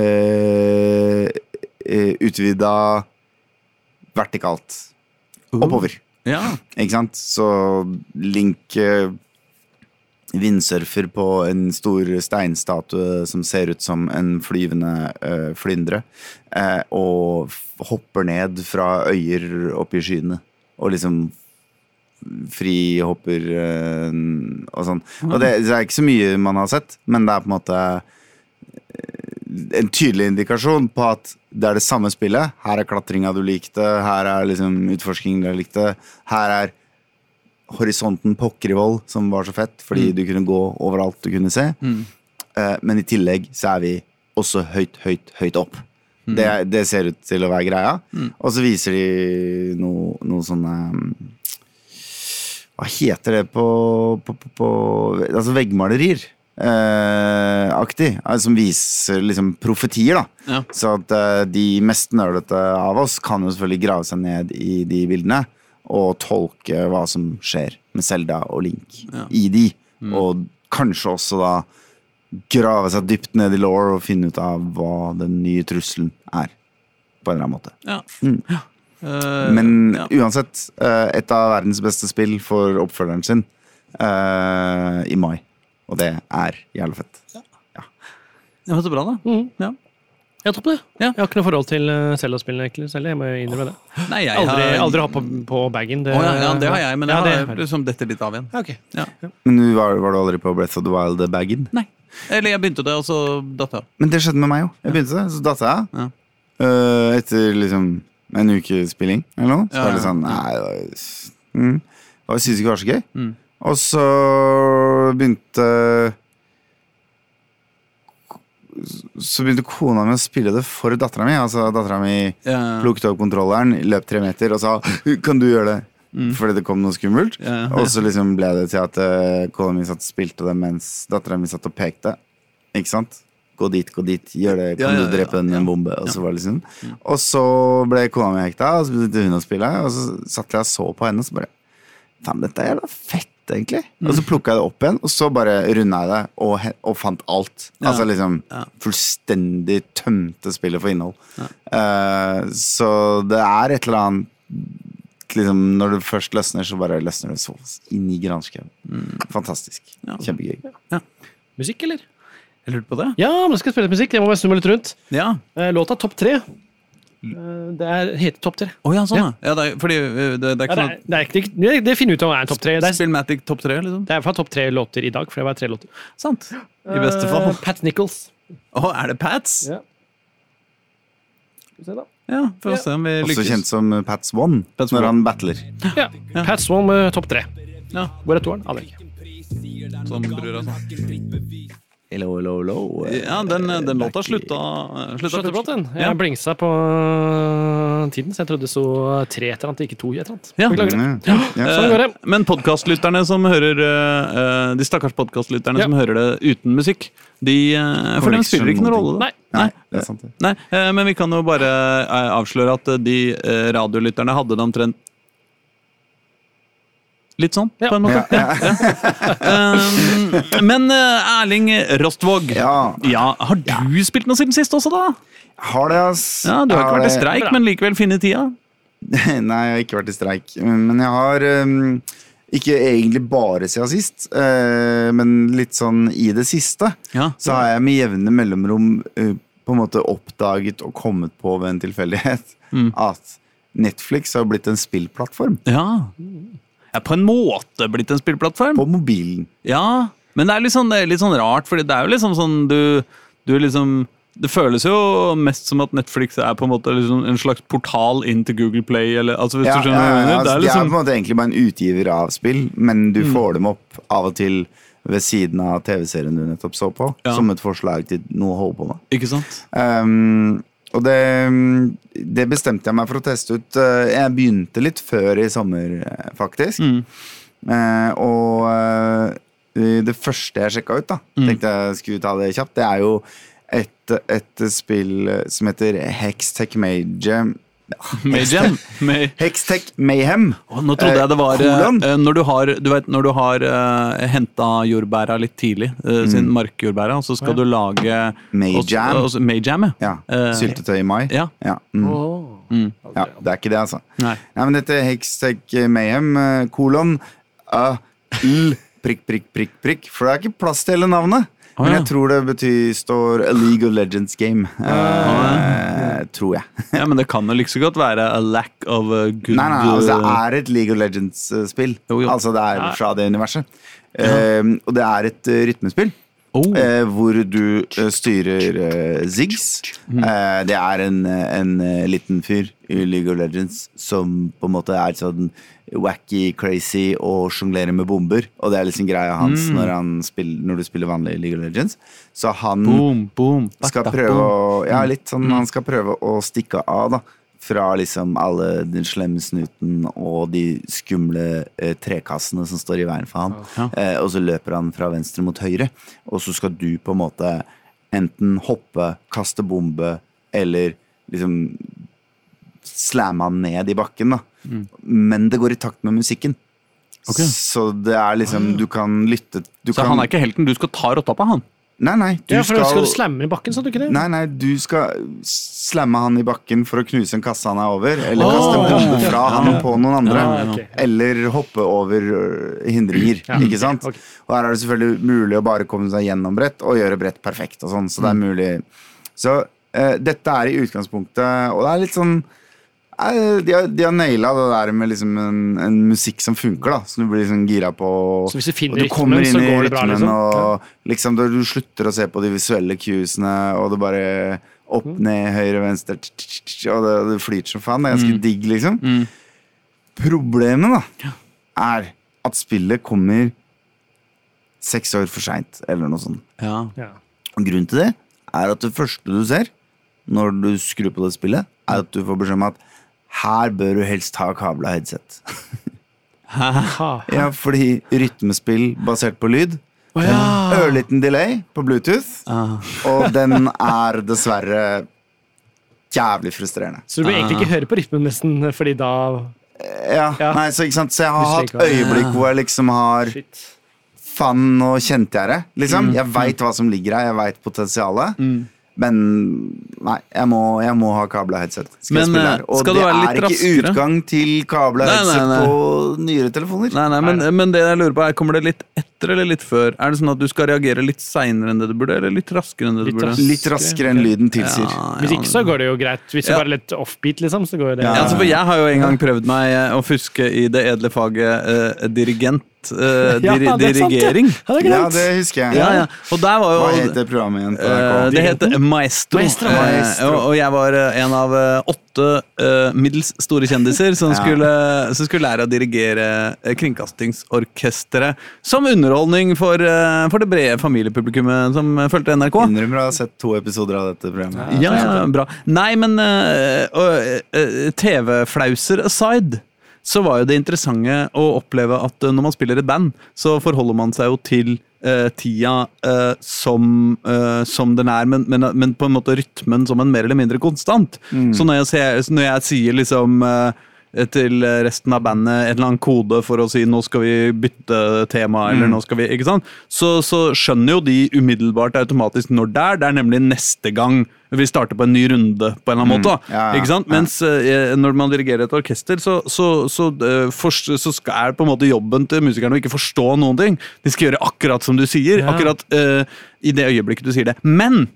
C: eh, utvida vertikalt. Oppover.
A: Oh. Ja.
C: Ikke sant? Så Link eh, vindsurfer på en stor steinstatue som ser ut som en flyvende eh, flyndre, eh, og f- hopper ned fra øyer opp i skyene. Og liksom frihopper eh, og sånn. Og det, det er ikke så mye man har sett, men det er på en måte eh, en tydelig indikasjon på at det er det samme spillet. Her er klatringa du likte, her er liksom utforskinga du likte. Her er horisonten Pokkervoll, som var så fett fordi du kunne gå overalt du kunne se. Eh, Men i tillegg så er vi også høyt, høyt, høyt opp. Det, det ser ut til å være greia. Og så viser de noe, noe sånne um, Hva heter det på, på, på, på Altså veggmalerier. Eh, aktig. eh, Som viser liksom profetier, da.
A: Ja.
C: Så at eh, de mest nølete av oss kan jo selvfølgelig grave seg ned i de bildene og tolke hva som skjer med Selda og Link i de.
A: Mm.
C: Og kanskje også da grave seg dypt ned i law og finne ut av hva den nye trusselen er. På en eller annen måte.
A: Ja.
C: Mm.
A: Ja. Eh,
C: Men
A: ja.
C: uansett, eh, et av verdens beste spill for oppfølgeren sin eh, i mai. Og det er jævla fett.
A: Ja, men Så bra, da. Ja.
B: Jeg tror på det.
A: Ja.
B: Jeg har ikke noe forhold til eh, Zelda-spillene egentlig selv. Jeg må jo innrømme det.
A: Nei, jeg
B: Aldri,
A: har
B: aldri hatt på, på bagen.
A: Å, ja, ja, det har jeg, men
B: Eh, ja,
A: jeg har
B: det-
A: liksom detter litt av igjen.
B: Ja, ok.
A: Ja.
C: Men du var, var du aldri på Breath of the Wild-bagen?
A: Nei. Eller jeg begynte det, og så datt jeg av.
C: Men det skjedde med meg jo. Jeg begynte det, så datt jeg.
A: Ja.
C: Eh, etter liksom en uke spilling eller noe. Så
A: Ja,
C: var det litt
A: ja,
C: sånn
A: ja.
C: Nei, det var, mm, Og jeg syntes ikke det var så gøy.
A: Mm.
C: Og så begynte Så begynte kona mi å spille det for dattera mi. Altså dattera mi
A: Ja.
C: plukket opp kontrolleren, løp tre meter og sa 'kan du gjøre det'? Fordi det kom noe skummelt.
A: Mm. Ja.
C: Og så liksom ble det til at eh, kona mi satt og spilte det mens dattera mi satt og pekte. Ikke sant? Gå dit, gå dit, gjør det, kan
A: Ja, ja,
C: du drepe
A: ja,
C: den med en
A: ja. Mm.
C: bombe? Og så var det liksom Og så ble kona mi hekta, og så begynte hun å spille, og så satt jeg og så på henne, og så bare Faen, dette er jævla fett, egentlig. Og så plukka jeg det opp igjen, og så bare runda jeg det, og, he- og fant alt.
A: Ja.
C: Altså liksom
A: Ja.
C: fullstendig tømte spillet for innhold. Eh, så det er et eller annet liksom, Når det først løsner, så bare løsner det så inn i granskauen. Fantastisk.
A: Mm. Ja.
C: Kjempegøy.
B: Musikk, eller?
A: Jeg lurte på det.
B: Ja, men jeg skal spille litt musikk. Jeg må bare snu meg litt rundt.
A: Ja.
B: Eh, Låta Topp tre. Eh, Det er, heter Topp tre.
A: Å ja, sånn, ja. ja det er, fordi eh, det, det er
B: Ja,
A: ikke
B: det,
A: sånn
B: er, det, er ikke, det, det finner vi ut om er en topp tre. Det
A: at
B: er,
A: Spillmatic topp tre, liksom?
B: det er fra topp tre låter i dag. for det var tre låter.
A: Sant. I beste fall.
B: Eh, Pat Nichols.
A: Å, er det Pats?
B: Ja. Skal vi se da.
A: Ja, for å se om vi
C: Også kjent
A: lykkes.
C: som Pats One
A: Pats
C: når
A: One.
C: han battler.
B: Ja. Pat Swan med topp tre.
A: Ja,
B: Hvor er toeren? Aner ikke.
A: som sånn. brura sa.
C: Hello, hello, hello.
A: Ja, den, eh, den låta slutta eh, Slutta
B: Skjønte
A: først.
B: brått den. Jeg
A: Ja.
B: blingsa på eh, tiden, så jeg trodde det sto tre et eller annet, ikke to et eller annet.
A: Ja.
B: Beklager.
C: Ja. Mm. Ja.
B: Sånn går det.
A: Eh, Men podcastlytterne som hører eh, eh, De stakkars podcastlytterne
B: Ja.
A: som hører det uten musikk, de eh, For dem
C: Connection
A: spiller ikke noen rolle.
B: Nei.
A: da.
C: Nei, det er sant. det.
A: Nei, eh, men vi kan jo bare eh, avsløre at eh, de eh, radiolytterne hadde det omtrent Litt sånn,
B: Ja.
A: på en måte. Ja. Eh, men eh, Erling Rostvåg,
C: Ja.
A: Ja, har du spilt noe siden sist også, da?
C: Har det, ass.
A: Ja, Du har ikke vært i
C: det-
A: streik,
B: Bra.
A: men likevel funnet tida?
C: Nei, jeg har ikke vært i streik. Men jeg har ehm, ikke egentlig bare siden sist, eh, men litt sånn i det siste,
A: Ja.
C: så har jeg med jevne mellomrom eh, på en måte oppdaget og kommet på ved en tilfeldighet
A: Mm.
C: at Netflix har blitt en spillplattform
A: ja. ja på en måte blitt en spillplattform.
C: på mobilen.
A: Ja, men det er litt sånn, det er litt sånn rart, Fordi det er jo liksom sånn du, du liksom Det føles jo mest som at Netflix er på en måte liksom en slags portal inn til Google Play, eller altså hvis du skjønner hva jeg mener. Det er
C: altså, de er på
A: liksom Mm.
C: en måte egentlig bare en utgiver av spill, men du får dem opp av og til ved siden av TV-serien du nettopp så på,
A: Ja.
C: som et forslag til noe å holde på med.
A: Ikke sant?
C: Um, og det, mm, det bestemte jeg meg for å teste ut. Uh, Jeg begynte litt før i sommer, eh, faktisk.
A: Mm.
C: Eh, og eh, det første jeg sjekka ut, da,
A: Mm.
C: tenkte jeg skulle ta det kjapt, det er jo et, et spill som heter Hextech Mayhem.
A: Mayhem. May
C: Hextech Mayhem.
A: Å, nå trodde jeg det var eh,
C: kolon.
A: eh, når du har, du vet, når du har eh, henta jordbæra litt tidlig, eh, sin markjordbæra, og så skal du lage
C: Mayjam.
A: og- og- Mayjam, ja.
C: Ja,
A: Eh,
C: Syltetøy i mai.
A: ja.
C: mm.
A: Mm.
C: ja. Det er ikke det, altså.
A: Nei.
C: Nei, men dette er Hextech Mayhem, eh, kolon A, L, prikk, prikk, prikk, prikk. For det er ikke plass til hele navnet.
A: Å,
C: Men
A: ja.
C: jeg tror det betyr, står A League of Legends Game. eh, Tror jeg.
A: ja, men det kan jo like så godt være a lack of eh, a good
C: Nei, nei, altså det er et League of Legends-spill.
A: Jo, jo.
C: Altså det er
B: Ja.
C: fra det universet. Eh, og det er et eh, rytmespill.
A: Oh.
C: eh, hvor du eh, styrer eh, Ziggs. Eh, det er en, eh, en eh, liten fyr i League of Legends som på en måte er sånn wacky, crazy og sjonglere med bomber. Og det er liksom greia hans når, han spiller, når du spiller vanlig League of Legends. Så han
A: Boom, boom.
C: skal
A: bata,
C: prøve
A: boom.
C: å Ja, litt sånn
A: Mm.
C: Han skal prøve å stikke av, da. Fra liksom alle den slemme snuten og de skumle eh, trekassene som står i veien for han. Eh, og så løper han fra venstre mot høyre, og så skal du på en måte enten hoppe, kaste bombe eller liksom slamme han ned i bakken, da. Men det går i takt med musikken.
A: Mm. Ok. Ah.
C: Så det er liksom Du kan lytte du
A: Så
C: kan,
A: han er ikke helten du skal ta rotta på, han?
C: Nei, nei. Du
B: Ja, for skal, skal du slamme i bakken, sa du ikke det?
C: Nei, nei, du skal slamme han i bakken for å knuse en kasse han er over, eller
A: Åh!
C: kaste en bombe fra han på noen andre.
B: Ja, ok.
C: Eller hoppe over øh, hindringer, ikke sant?
B: ok.
C: Og her er det selvfølgelig mulig å bare komme seg gjennom brett og gjøre brett perfekt og sånn,
B: Mm.
C: så det er mulig. Så eh, dette er i utgangspunktet, og det er litt sånn eh, de har, de har naila det der med liksom en, en musikk som funker, da. Så du blir liksom gira på
B: Så hvis du finner
C: og du kommer
B: rytmen, så
C: inn i
B: går det bra, liksom.
C: Og liksom da du slutter å se på de visuelle cuesene, og det bare opp,
B: Mm.
C: ned, høyre, venstre tsk, tsk, tsk, Og det, det flyter som faen. Det er ganske
B: Mm.
C: digg, liksom. Problemet, da, er at spillet kommer seks år for seint, eller noe sånt.
A: Ja.
B: Ja.
C: Og grunnen til det er at det første du ser når du skrur på det spillet, er at du får beskjed om at her bør du helst ha kabla headset.
B: Ha.
C: Ja, fordi rytmespill basert på lyd Ørliten delay på Bluetooth, og den er dessverre jævlig frustrerende.
B: Så du bør egentlig
A: Ah.
B: ikke høre på rytmen, nesten, fordi da
C: Ja,
B: Ja.
C: Nei, så, ikke sant? så jeg har
B: Hvis det
C: hatt
B: ikke var-
C: øyeblikk hvor jeg liksom har
B: Shit.
C: Faen, nå kjente jeg det. Liksom.
A: Mm.
C: Jeg veit hva som ligger her, jeg veit potensialet. Men nei, jeg må, jeg må ha kabla headset. Skal
A: Men,
C: jeg spille her.
A: eh,
C: Og
A: skal du
C: det
A: være
C: er
A: litt
C: ikke
A: raskere?
C: utgang til kabla
A: Nei,
C: headset
A: nei, nei.
C: på nyere telefoner.
A: Nei, nei, men, men det jeg lurer på er, kommer det litt etter eller litt før? Er det sånn at du skal reagere litt seinere enn det du burde, eller litt raskere enn det du
B: Litt
A: burde?
B: raskere.
C: Litt raskere enn lyden tilsier.
B: Hvis ikke, så går det jo greit. Hvis du
A: Ja.
B: bare er litt offbeat, liksom, så går det
A: Ja,
C: Ja,
A: altså for Jeg har jo en gang prøvd meg eh, å fuske i det edle faget eh, dirigent. eh,
B: Ja,
A: diri
B: det er sant, ja.
A: dirigering.
B: Ja, det er
C: Ja,
B: greit.
C: det husker jeg.
A: Ja, ja. Og der var jo
C: Hva het det programmet igjen? på
A: Eh,
C: NRK?
A: det heter Maestro.
B: Maestro.
A: Eh,
C: Maestro.
A: og, og jeg var eh, en av eh, åtte eh, middels store kjendiser som,
C: Ja.
A: skulle, eh, som skulle lære å dirigere eh, Kringkastingsorkesteret som underholdning for, eh, for det brede familiepublikummet som eh, fulgte NRK.
C: Innrømmer å ha sett to episoder av dette programmet.
A: Ja, ja, bra. Nei, men eh, og, eh, TV-flauser aside, så var jo det interessante å oppleve at eh, når man spiller et band, så forholder man seg jo til eh, tida eh, som, eh, som den er, men, men, men på en måte rytmen som en mer eller mindre konstant. Så når jeg, ser, så når jeg sier liksom eh, til resten av bandet en eller annen kode for å si 'nå skal vi bytte tema', eller
B: Mm.
A: 'nå skal vi Ikke sant? Så, så skjønner jo de umiddelbart automatisk når det er. Det er nemlig neste gang vi starter på en ny runde, på en eller
B: Mm.
A: annen måte. da.
C: Ja, ja,
A: Ikke sant?
C: ja.
A: Mens eh, når man dirigerer et orkester, så, så, så, eh, forst- så skal, er på en måte jobben til musikerne å ikke forstå noen ting. De skal gjøre akkurat som du sier,
B: Ja.
A: akkurat eh, i det øyeblikket du sier det. Men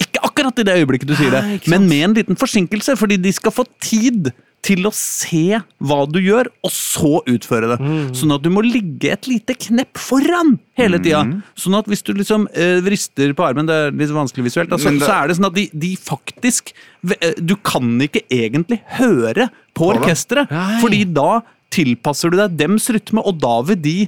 A: ikke akkurat i det øyeblikket du sier det,
B: Nei, ikke sant?
A: men med en liten forsinkelse, fordi de skal få tid til å se hva du gjør, og så utføre det.
C: Mm.
A: Sånn at du må ligge et lite knepp foran hele tida.
C: Mm.
A: Sånn at hvis du liksom eh, vrister på armen, det er litt vanskelig visuelt, da, så,
C: Men det-
A: så er det sånn at de, de faktisk ve- eh, Du kan ikke egentlig høre på
C: det.
A: orkesteret,
B: Nei.
A: fordi da tilpasser du deg dems rytme, og da vil de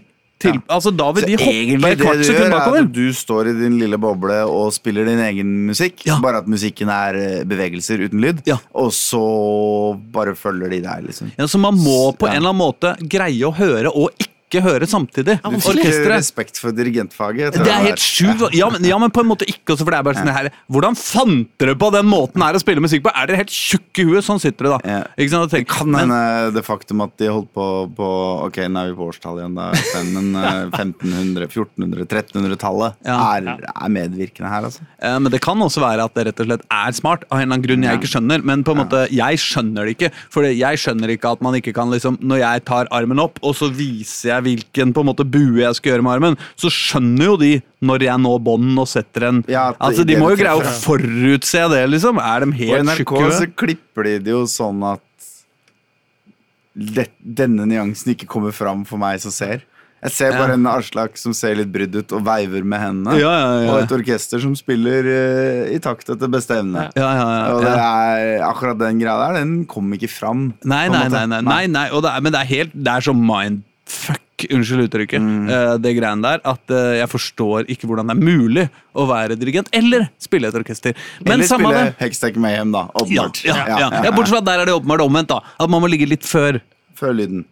A: til, altså da vil de hoppe et kvart sekund
C: er
A: bakover.
C: at du står i din lille boble og spiller din egen musikk,
A: Ja.
C: bare at musikken er eh, bevegelser uten lyd,
A: Ja.
C: og så bare følger de deg, liksom.
A: Ja, så man må på
C: Ja.
A: en eller annen måte greie å høre og ikke høre samtidig.
C: Du fikk ikke
A: Orkestret.
C: respekt for dirigentfaget. etter
A: Det er
C: der.
A: helt sjukt. Ja, men, ja, men på en måte ikke også, for det er bare sånn her Hvordan fant dere på den måten her å spille musikk på? Er dere helt tjukke i huet? Sånn sitter dere, da.
C: Ja.
A: Ikke sant? Og
C: Det
A: tenker,
C: kan
A: men-
C: hende det faktum at de holdt på på Ok, nå er vi på årstallet igjen, da. Øystein, Men eh, 1500-, 1400-, 1300-tallet
A: Ja.
C: er, er medvirkende her, altså.
A: Eh, Men det kan også være at det rett og slett er smart, av en eller annen grunn jeg ikke skjønner. Men på en måte, jeg skjønner det ikke. For jeg skjønner ikke at man ikke kan liksom Når jeg tar armen opp, og så viser jeg hvilken på en måte bue jeg skal gjøre med armen, så skjønner jo de når jeg når bånd og setter en
C: Ja, at det-
A: Altså, De
C: det
A: må jo
C: du
A: greie å
C: treffer,
A: forutse det, liksom. Er de
C: På
A: helt
C: NRK
A: sjukke? i
C: så
A: huet?
C: klipper de det jo sånn at det, denne nyansen ikke kommer fram for meg som ser. Jeg ser bare en Aslak som ser litt brydd ut og veiver med hendene.
A: Ja, ja, ja.
C: Og et orkester som spiller eh, i takt etter beste evne.
A: Ja, ja, ja,
C: Og det
A: ja.
C: er akkurat den greia der, den kom ikke fram.
A: Nei,
C: på
A: nei,
C: en
A: nei,
C: måte.
A: nei, nei, nei. Og det er, men det er helt Det er så mindfuck, unnskyld uttrykket,
C: Mm.
A: eh, det greiene der, at eh, jeg forstår ikke hvordan det er mulig å være dirigent eller spille et orkester. Men
C: Eller
A: samme
C: spille
A: det.
C: Hextech Mayhem, da.
A: Ja,
C: Åpenbart.
A: ja, ja, ja. Bortsett fra at der er det åpenbart omvendt, da. At man må ligge litt før.
C: Før lyden.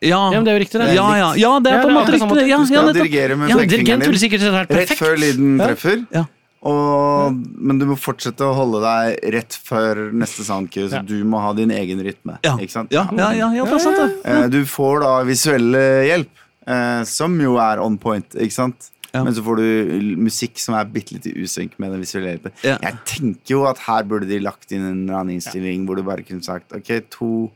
A: Ja,
B: Ja, men det er jo riktig, det.
A: Ja, ja, ja det er
B: Ja,
A: på en
B: det er
A: måte
B: akkurat
A: riktig.
B: samme
A: det. Ja,
C: Du
A: ja,
C: skal
A: nettopp.
C: dirigere med
B: Ja, men
C: fingeren
B: dirigent ville
C: din.
B: sikkert vært
C: Rett
B: perfekt.
C: før lyden treffer.
A: Ja.
C: Og, men du må fortsette å holde deg rett før neste soundcue, så
B: Ja.
C: du må ha din egen rytme.
A: Ja,
C: Ikke sant?
A: ja, ja, ja, ja, det er sant, det.
C: Eh, Du får da visuell eh, hjelp, eh, som jo er on point, ikke sant?
A: Ja.
C: Men så får du l- musikk som er bitte litt i usynk med den visuelle hjelpen.
A: Ja.
C: Jeg tenker jo at her burde de lagt inn en eller annen innstilling hvor du bare kunne sagt ok, to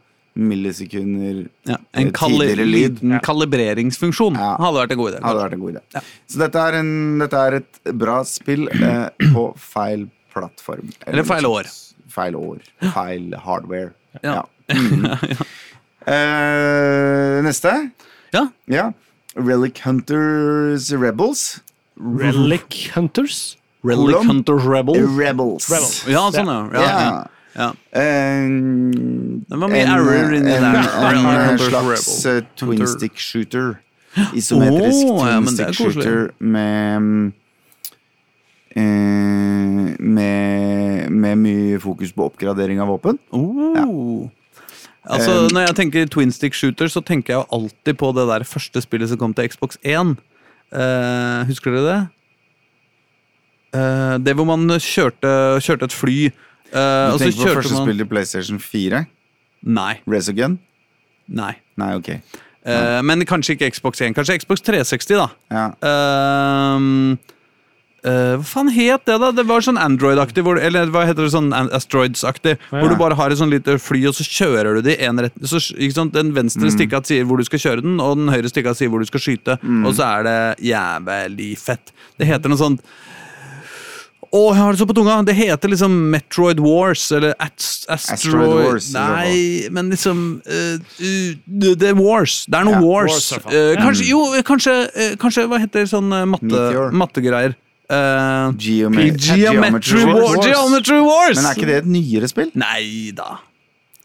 C: millisekunder
A: Ja, en
C: eh,
A: kali
C: tidligere lyd.
A: liten kalibreringsfunksjon
C: Ja.
A: hadde vært en god idé.
C: Hadde vært en god idé. Så dette er, en, dette er et bra spill eh, på feil plattform.
A: Eller feil
C: noe
A: år.
C: sånt. Feil år. Feil hardware.
A: Ja.
C: Mhm. Eh, neste.
A: Ja.
C: Ja. Relic Hunters Rebels.
B: Relic Hunters.
A: Relic
C: Kolon.
A: Hunters Rebel.
C: Rebels.
B: Rebel.
A: Ja, sånn, ja. ja,
C: Ja.
A: ja. ja.
C: Eh,
A: Det var mye error inni
C: en,
A: der.
C: en,
A: Relic
C: en
A: Hunters
C: slags
A: Rebel.
C: eh, twin stick shooter. Isometrisk
A: Åh, ja,
C: twin
A: men det er
C: stick shooter med mm, eh, med, med mye fokus på oppgradering av våpen.
A: Oh. Altså,
C: Eh,
A: når jeg tenker twin stick shooter, så tenker jeg jo alltid på det der første spillet som kom til Xbox 1. Eh, husker dere det? Eh, det hvor man kjørte, kjørte et fly. eh,
C: Du
A: og så
C: tenker på
A: kjørte
C: første
A: man
C: spill til PlayStation 4?
A: Nei.
C: Resogun?
A: nei.
C: Nei, ok.
A: Eh, men kanskje ikke Xbox 1. Kanskje Xbox 360, da.
C: Ja.
A: Ehm, eh, hva faen het det, da? Det var sånn Android-aktig. hvor- Eller hva heter det sånn An- Asteroids-aktig. Hvor du bare har et sånn lite fly, og så kjører du det i én retning. Så, ikke sant? Den venstre
C: Mm.
A: stikka sier hvor du skal kjøre den, og den høyre stikka sier hvor du skal skyte.
C: Mm.
A: Og så er det jævlig fett. Det heter noe sånt Å, jeg har det så på tunga! Det heter liksom Metroid Wars, eller Ast Asteroid
C: Asteroid Wars, i så fall.
A: Nei, men liksom eh, uh, Det det er Wars. Det er noe
C: Ja.
A: Wars.
B: Wars, i hvert fall.
A: Eh,
B: Ja.
A: kanskje, jo, eh, kanskje, eh, kanskje Hva heter sånn eh, matte,
C: Mm. Meteor.
A: mattegreier? Eh,
C: Geome
A: Geometry Wars. Geometry Wars!
C: Men er ikke det et nyere spill?
A: Nei da.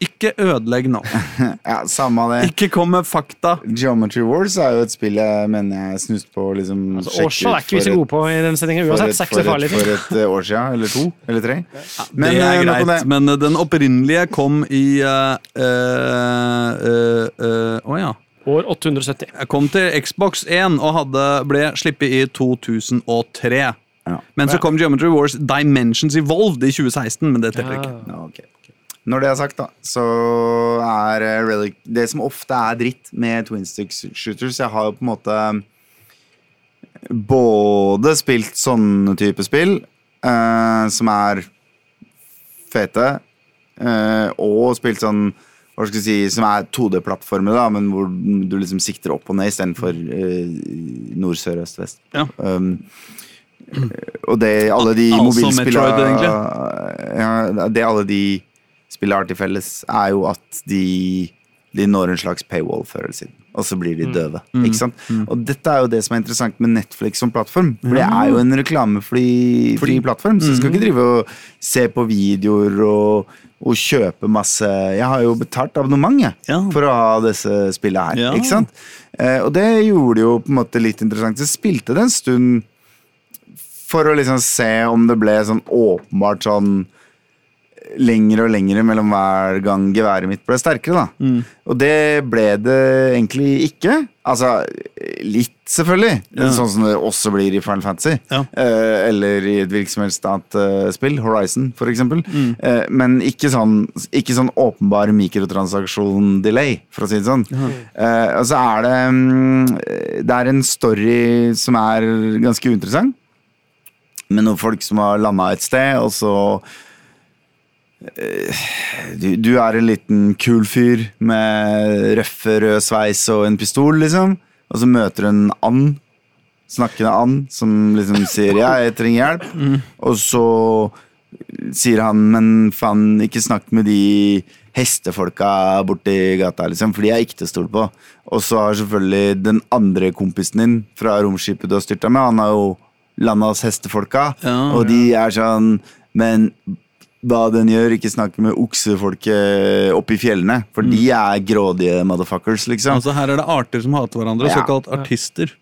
A: Ikke ødelegg nå.
C: Ja, Samme av det.
A: Ikke kom med fakta.
C: Geometry Wars er jo et spill jeg mener jeg snuste på. å Liksom,
B: Altså,
C: sjekke
B: Årstall
C: ut
B: er ikke vi
C: for
B: så
C: et-
B: gode på i den sendingen uansett. Så er ikke så
C: for,
B: farlig.
C: et, for et eh, år siden, eller to, eller tre. Men,
A: det er
C: eh, nok om
A: greit,
C: det.
A: men eh, den opprinnelige kom i eh, Å eh, ja.
B: År 870.
A: Jeg kom til Xbox 1 og hadde, ble slippet i 2003.
C: Ja.
A: Men så
B: Ja.
A: kom Geometry Wars Dimensions Evolved i 2016, men det teller ikke.
B: Ah.
C: Ja, ok. Når det er sagt, da, så er eh, Relic Det som ofte er dritt med Twin Stick Shooters Jeg har jo på en måte eh, både spilt sånne type spill, eh, som er fete, eh, og spilt sånn hva skal jeg si, som er 2D-plattformer, da, men hvor du liksom sikter opp og ned istedenfor uh, nord, sør, øst, vest.
A: Ja.
C: Um, eh, og det alle de
A: Al- altså
C: mobilspillene
A: Metroid,
C: ja, Det alle de spillene har til felles, er jo at de, de når en slags paywall før eller siden. Og så blir de døve. Ikke sant? Og dette er jo det som er interessant med Netflix som plattform. For det er jo en reklamefri fri plattform, så du skal ikke drive og se på videoer og, og kjøpe masse Jeg har jo betalt abonnement jeg,
A: Ja.
C: for å ha disse spillene her.
A: Ja.
C: Ikke sant? Eh, og det gjorde det jo på en måte litt interessant. Jeg spilte det en stund for å liksom se om det ble sånn åpenbart sånn lengre og lengre mellom hver gang geværet mitt ble sterkere, da.
A: Mm.
C: Og det ble det egentlig ikke. Altså litt, selvfølgelig. Sånn som det også blir i Final Fantasy.
A: Ja.
C: Eh, eller i et hvilket som helst annet eh, spill. Horizon, for eksempel. Eh, men ikke sånn, ikke sånn åpenbar mikrotransaksjon-delay, for å si det sånn. Eh, og så er det mm, Det er en story som er ganske uinteressant med noen folk som har landa et sted, og så eh, du, du er en liten kul fyr med røffe, rød sveis og en pistol, liksom. Og så møter du en and, snakkende and, som liksom sier 'ja, jeg trenger hjelp'. Og så sier han, men faen, ikke snakk med de hestefolka borti gata, liksom, for de er ikke til å stole på. Og så har selvfølgelig den andre kompisen din fra romskipet du har styrta med, han har jo landa hos hestefolka,
A: Ja.
C: og de er sånn Men hva den gjør, ikke snakk med oksefolket oppe i fjellene, for de er grådige motherfuckers, liksom.
A: Altså Her er det arter som hater hverandre,
C: Ja.
A: såkalt artister.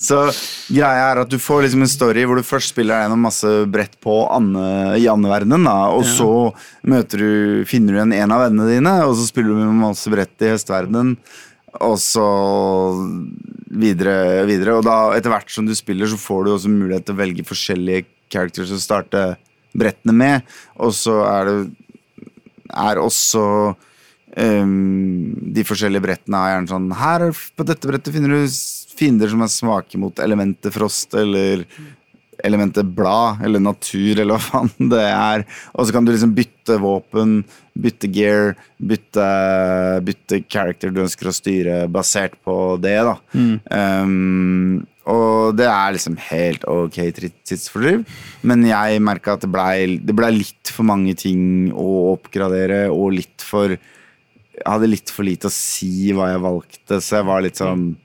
C: Så greia er at du får liksom en story hvor du først spiller deg gjennom masse brett på Anne, i andeverdenen, da, og så møter du, finner du igjen en av vennene dine, og så spiller du med masse brett i hesteverdenen, og så videre, videre. Og da, etter hvert som du spiller, så får du også mulighet til å velge forskjellige characters å starte brettene med, og så er det er også ehm, De forskjellige brettene er gjerne sånn Her er- på dette brettet finner du s- fiender som er svake mot elementet frost, eller elementet blad, eller natur, eller hva faen det er. Og så kan du liksom bytte våpen, bytte gear, bytte, bytte character du ønsker å styre, basert på det, da. Ehm, og det er liksom helt ok tri- tidsfordriv, men jeg merka at det blei det ble litt for mange ting å oppgradere, og litt for jeg hadde litt for lite å si hva jeg valgte, så jeg var litt sånn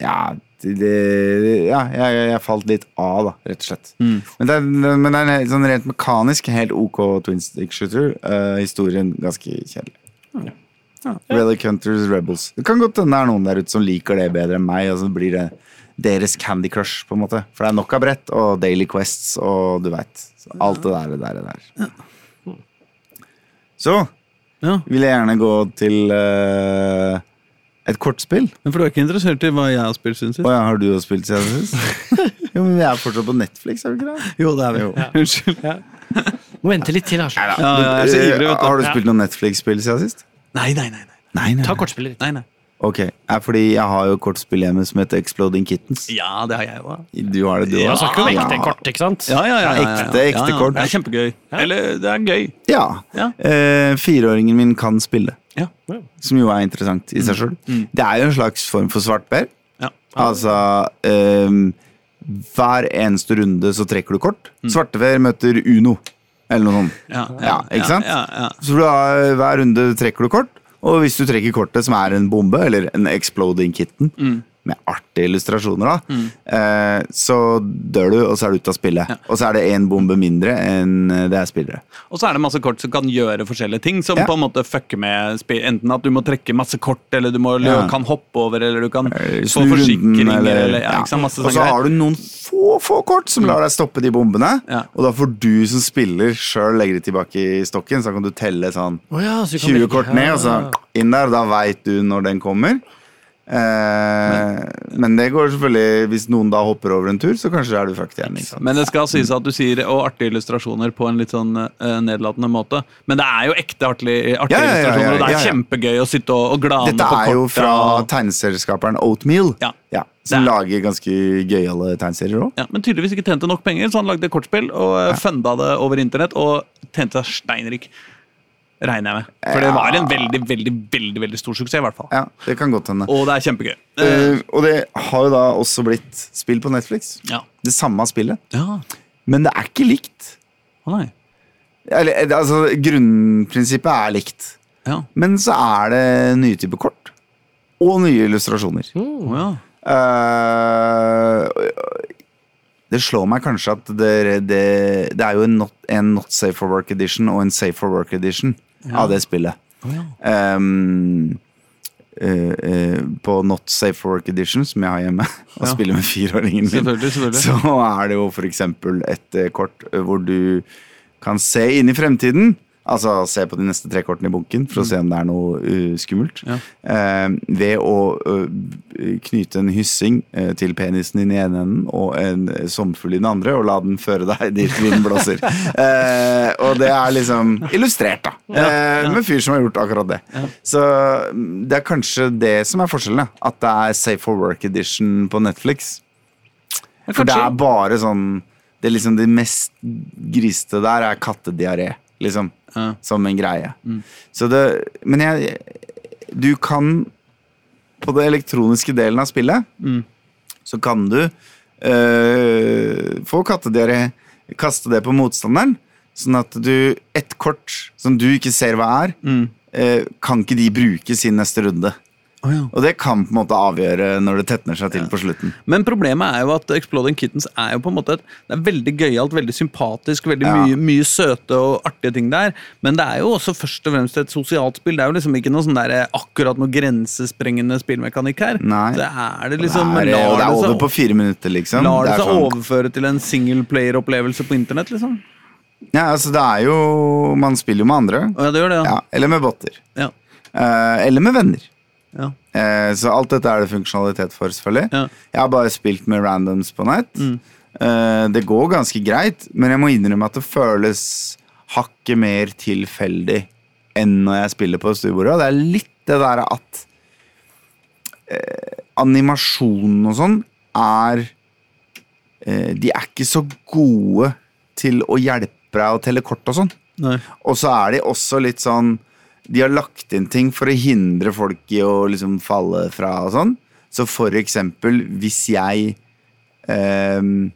C: Ja, det, det- ja jeg, jeg- jeg falt litt av, da, rett og slett. Men, det er, men det er en helt sånn rent mekanisk helt OK twin stick shooter. eh, historien ganske kjedelig. Relic Hunters Rebels. Det kan godt hende det er noen der ute som liker det bedre enn meg, og så blir det deres Candy Crush, på en måte. For det er nok av brett og Daily Quests og du veit. Alt det der, det der, det der. Så
A: Ja,
C: vil jeg gjerne gå til eh, et kortspill.
A: Men for du er ikke interessert i hva jeg har spilt siden sist?
C: Å ja, har du også spilt siden sist? jo, men vi er fortsatt på Netflix, er vi ikke det?
A: Jo, det er vi.
C: Jo.
A: Unnskyld.
B: Må vente litt til, altså.
A: Ja, jeg er så ivrig,
C: Eh,
A: vet du.
C: Har du spilt noe Netflix-spill siden sist?
A: Nei, nei, nei. nei.
C: Nei, nei.
B: Ta kortspillet ditt.
A: nei, nei.
C: Ok, eh, fordi jeg har jo kortspill hjemme som heter Exploding Kittens.
A: Ja, det har jeg òg.
C: Du har det, du
B: Da
C: også?
B: snakker vi om ekte kort, ikke sant?
A: Ja, ja, ja, ja, ja.
C: Ekte, ekte
A: Ja, ja.
C: kort.
A: Det er kjempegøy. Eller det er gøy.
C: Ja.
A: Ja.
C: Eh, fireåringen min kan spille,
A: Ja. Mm.
C: som jo er interessant i seg sjøl. Det er jo en slags form for svartbær.
A: Ja.
C: Altså ehm, Hver eneste runde så trekker du kort. Svarteper møter Uno, eller noe sånt.
A: Mm. Ja,
C: ikke sant?
A: Ja, ja,
C: Så da, hver runde trekker du kort, og hvis du trekker kortet som er en bombe, eller en exploding kitten,
A: Mm.
C: med artige illustrasjoner, da, eh, så dør du, og så er du ute av spillet. Og så er det én bombe mindre enn eh, det er spillere.
A: ja. Og så er det masse kort som kan gjøre forskjellige ting, som
C: Ja.
A: på en måte fucker med spill. Enten at du må trekke masse kort, eller du må,
C: Ja.
A: kan hoppe over, eller du kan
C: Eh,
A: få
C: snu runden,
A: forsikringer, eller, ja,
C: ja.
A: ikke sant? Masse
C: Og så
A: sånne
C: har
A: greier. Mm.
C: du noen få, få kort som lar deg stoppe de bombene,
A: Ja.
C: og da får du som spiller sjøl legge det tilbake i stokken, så da kan du telle sånn
B: Å ja, så vi kan
C: 20
B: velge-
C: kort ned, altså. og så inn der. Da veit du når den kommer. Eh, men det går selvfølgelig Hvis noen da hopper over en tur, så kanskje er du fucked igjen. Ikke sant?
A: Men det skal sies at du sier og artige illustrasjoner på en litt sånn eh, nedlatende måte. Men det er jo ekte artige, artige
C: Ja, ja, ja, ja,
A: illustrasjoner, og det er
C: ja, ja.
A: kjempegøy å sitte og, og glane
C: Dette
A: på kortet.
C: er jo fra
A: og-
C: tegneserieskaperen Oatmeal,
A: Ja.
C: som
A: Det er-
C: lager ganske gøyale tegneserier òg.
A: ja, Men tydeligvis ikke tjente nok penger, så han lagde kortspill og eh, funda det over internett. Og tjente seg steinrik, regner jeg med. For det var en veldig, veldig, veldig veldig stor suksess, i hvert fall.
C: Ja, det kan godt hende.
A: Og det er kjempegøy. Eh,
C: Eh, og det har jo da også blitt spill på Netflix.
A: ja.
C: Det samme spillet.
A: ja.
C: Men det er ikke likt.
A: Å nei.
C: Eller, eh, altså, grunnprinsippet er likt.
A: Ja.
C: Men så er det nye typer kort. Og nye illustrasjoner.
A: Å ja.
C: Eh, det slår meg kanskje at det, det, det er jo en not, en not safe for work edition og en safe for work edition av det spillet.
A: Å ja.
C: Ehm, eh, eh, på Not Safe for Work Edition, som jeg har hjemme, og
A: Ja.
C: spiller med fireåringen min,
A: Selvfølgelig, selvfølgelig.
C: så er det jo for eksempel et eh, kort eh, hvor du kan se inn i fremtiden. Altså se på de neste tre kortene i bunken for å se om det er noe eh, skummelt.
A: Ja.
C: Eh, ved å eh, knyte en hyssing eh, til penisen din i ene enden og en eh, sommerfugl i den andre, og la den føre deg dit vinden blåser. Eh, og det er liksom illustrert, da. Eh, Med fyr som har gjort akkurat det. Så mm, det er kanskje det som er forskjellen. da. At det er Safe for Work Edition på Netflix.
A: Men
C: For det
A: kanskje-
C: er bare sånn Det er liksom det mest griste der er kattediaré, liksom.
A: Ja.
C: Som en greie. Så det Men jeg Du kan På den elektroniske delen av spillet så kan du eh, få kattediaré, kaste det på motstanderen, sånn at du Et kort som du ikke ser hva er, eh, kan ikke de bruke sin neste runde.
A: Å ja.
C: Og det kan på en måte avgjøre når det tetner seg til på slutten.
A: Men problemet er jo at Exploding Kittens er jo på en måte et, Det er veldig gøyalt, veldig sympatisk, veldig
C: Ja.
A: mye, mye søte og artige ting der. Men det er jo også først og fremst et sosialt spill. Det er jo liksom ikke noe sånn der, eh, akkurat noe grensesprengende spillmekanikk her.
C: Nei.
A: Det er det liksom
C: det, er,
A: Lar
C: og det er
A: det
C: over på
A: seg,
C: fire minutter, liksom.
A: lar det
C: er
A: seg
C: sånn-
A: overføre til en singleplayer-opplevelse på internett, liksom?
C: Ja, altså det er jo Man spiller jo med andre.
A: Å, ja, det gjør det, ja.
C: Ja, eller med botter.
A: Ja.
C: Eh, eller med venner.
A: ja.
C: Eh, så alt dette er det funksjonalitet for, selvfølgelig.
A: Ja.
C: Jeg har bare spilt med randoms på nett. Eh, det går ganske greit, men jeg må innrømme at det føles hakket mer tilfeldig enn når jeg spiller på stuebordet. Og det er litt det der at eh, animasjonen og sånn er eh, De er ikke så gode til å hjelpe deg å telle kort og sånn.
A: Nei.
C: Og så er de også litt sånn De har lagt inn ting for å hindre folk i å liksom falle fra og sånn. Så for eksempel hvis jeg ehm,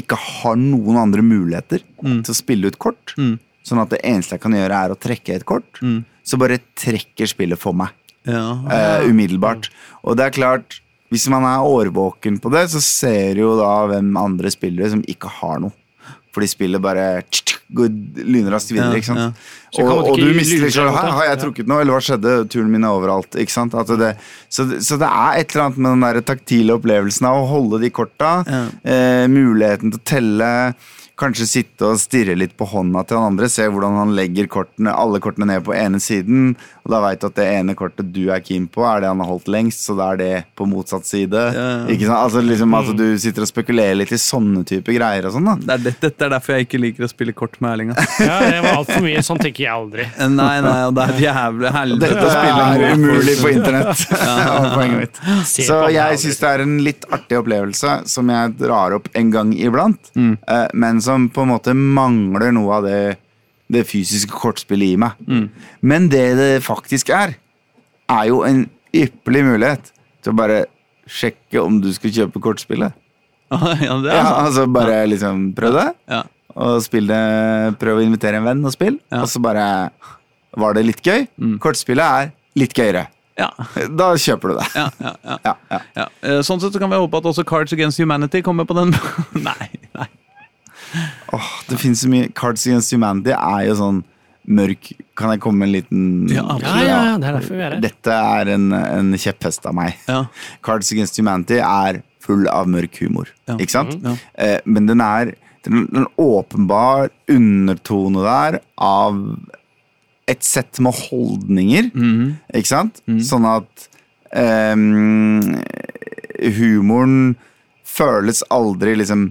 C: ikke har noen andre muligheter til å spille ut kort, sånn at det eneste jeg kan gjøre, er å trekke et kort, så bare trekker spillet for meg
A: Ja.
C: eh, umiddelbart. Og det er klart, hvis man er årvåken på det, så ser jo da hvem andre spillere som ikke har noe. Fordi spillet bare går lynraskt
A: Ja,
C: videre. ikke sant?
A: ja.
B: Så kan man
C: Og, og
B: ikke
C: du mister
B: lure
C: liksom
B: seg mot
C: «Hæ,
B: det?»
C: Har jeg trukket nå, eller hva skjedde? Turen min er overalt. ikke sant? At det, så, det- så det er et eller annet med den der taktile opplevelsen av å holde de korta.
A: Ja.
C: Eh, muligheten til å telle. Kanskje sitte og stirre litt på hånda til han andre. Se hvordan han legger kortene, alle kortene ned på ene siden. Og da veit du at det ene kortet du er keen på, er det han har holdt lengst, så da er det på motsatt side.
A: Ja, ja.
C: Ikke sant? Altså liksom At du sitter og spekulerer litt i sånne type greier og sånn. da
A: Det er det, dette er derfor jeg ikke liker å spille kort med Erling. ass.
B: Ja, det var altfor mye. Sånn tenker jeg aldri.
A: Nei, nei, og det er et jævlig helvete å
C: Dette
A: spille
C: er
A: med.
C: umulig på internett. var poenget mitt.
B: Se på
C: Så
B: den aldri.
C: jeg syns det er en litt artig opplevelse som jeg drar opp en gang iblant,
A: Mm.
C: eh, men som på en måte mangler noe av det, det fysiske kortspillet i meg.
A: Mm.
C: Men det det faktisk er, er jo en ypperlig mulighet til å bare sjekke om du skal kjøpe kortspillet.
A: Ja, det er
C: Ja,
A: sant.
C: altså bare liksom prøv det,
A: Ja.
C: og spill det, prøv å invitere en venn og spill,
A: Ja. Mm.
C: og så bare var det litt gøy. Kortspillet er litt gøyere.
A: Ja.
C: Da kjøper du det.
A: ja, ja, ja.
C: Ja, ja.
A: ja. Eh, Sånn sett så kan vi håpe at også Cards Against Humanity kommer på den. nei, nei.
C: Åh, det finnes så mye Cards Against Humanity er jo sånn mørk Kan jeg komme med en liten
A: Ja, absolutt.
B: Ja, ja, ja, det er derfor vi er her.
C: Dette er en, en kjepphest av meg.
A: Ja.
C: Cards Against Humanity er full av mørk humor,
A: Ja.
C: ikke sant?
B: Mhm.
A: Ja.
C: Eh, men den er den, den åpenbar undertone der av et sett med holdninger,
A: Mhm.
C: ikke sant?
A: Mm.
C: Sånn at ehm, humoren føles aldri liksom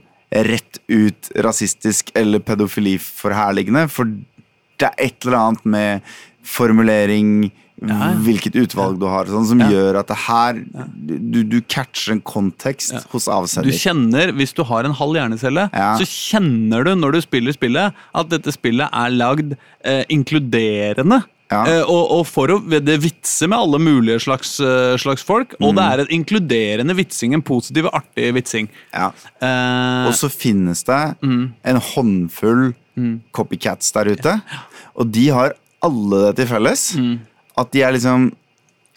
C: rett ut rasistisk eller pedofiliforherligende, for det er et eller annet med formulering,
A: Ja, ja.
C: hvilket utvalg du har, og sånn, som
A: Ja.
C: gjør at det her du, du catcher en kontekst hos
A: Du
C: avsender.
A: kjenner, Hvis du har en halv hjernecelle,
C: Ja.
A: så kjenner du når du spiller spillet, at dette spillet er lagd eh, inkluderende.
C: Ja.
A: Eh, og, og for å det vitser med alle mulige slags, eh, slags folk. Og
C: Mhm.
A: det er en inkluderende vitsing, en positiv og artig vitsing.
C: Ja.
A: Eh,
C: Og så finnes det en håndfull copycats der ute, og de har alle det til felles. At de er liksom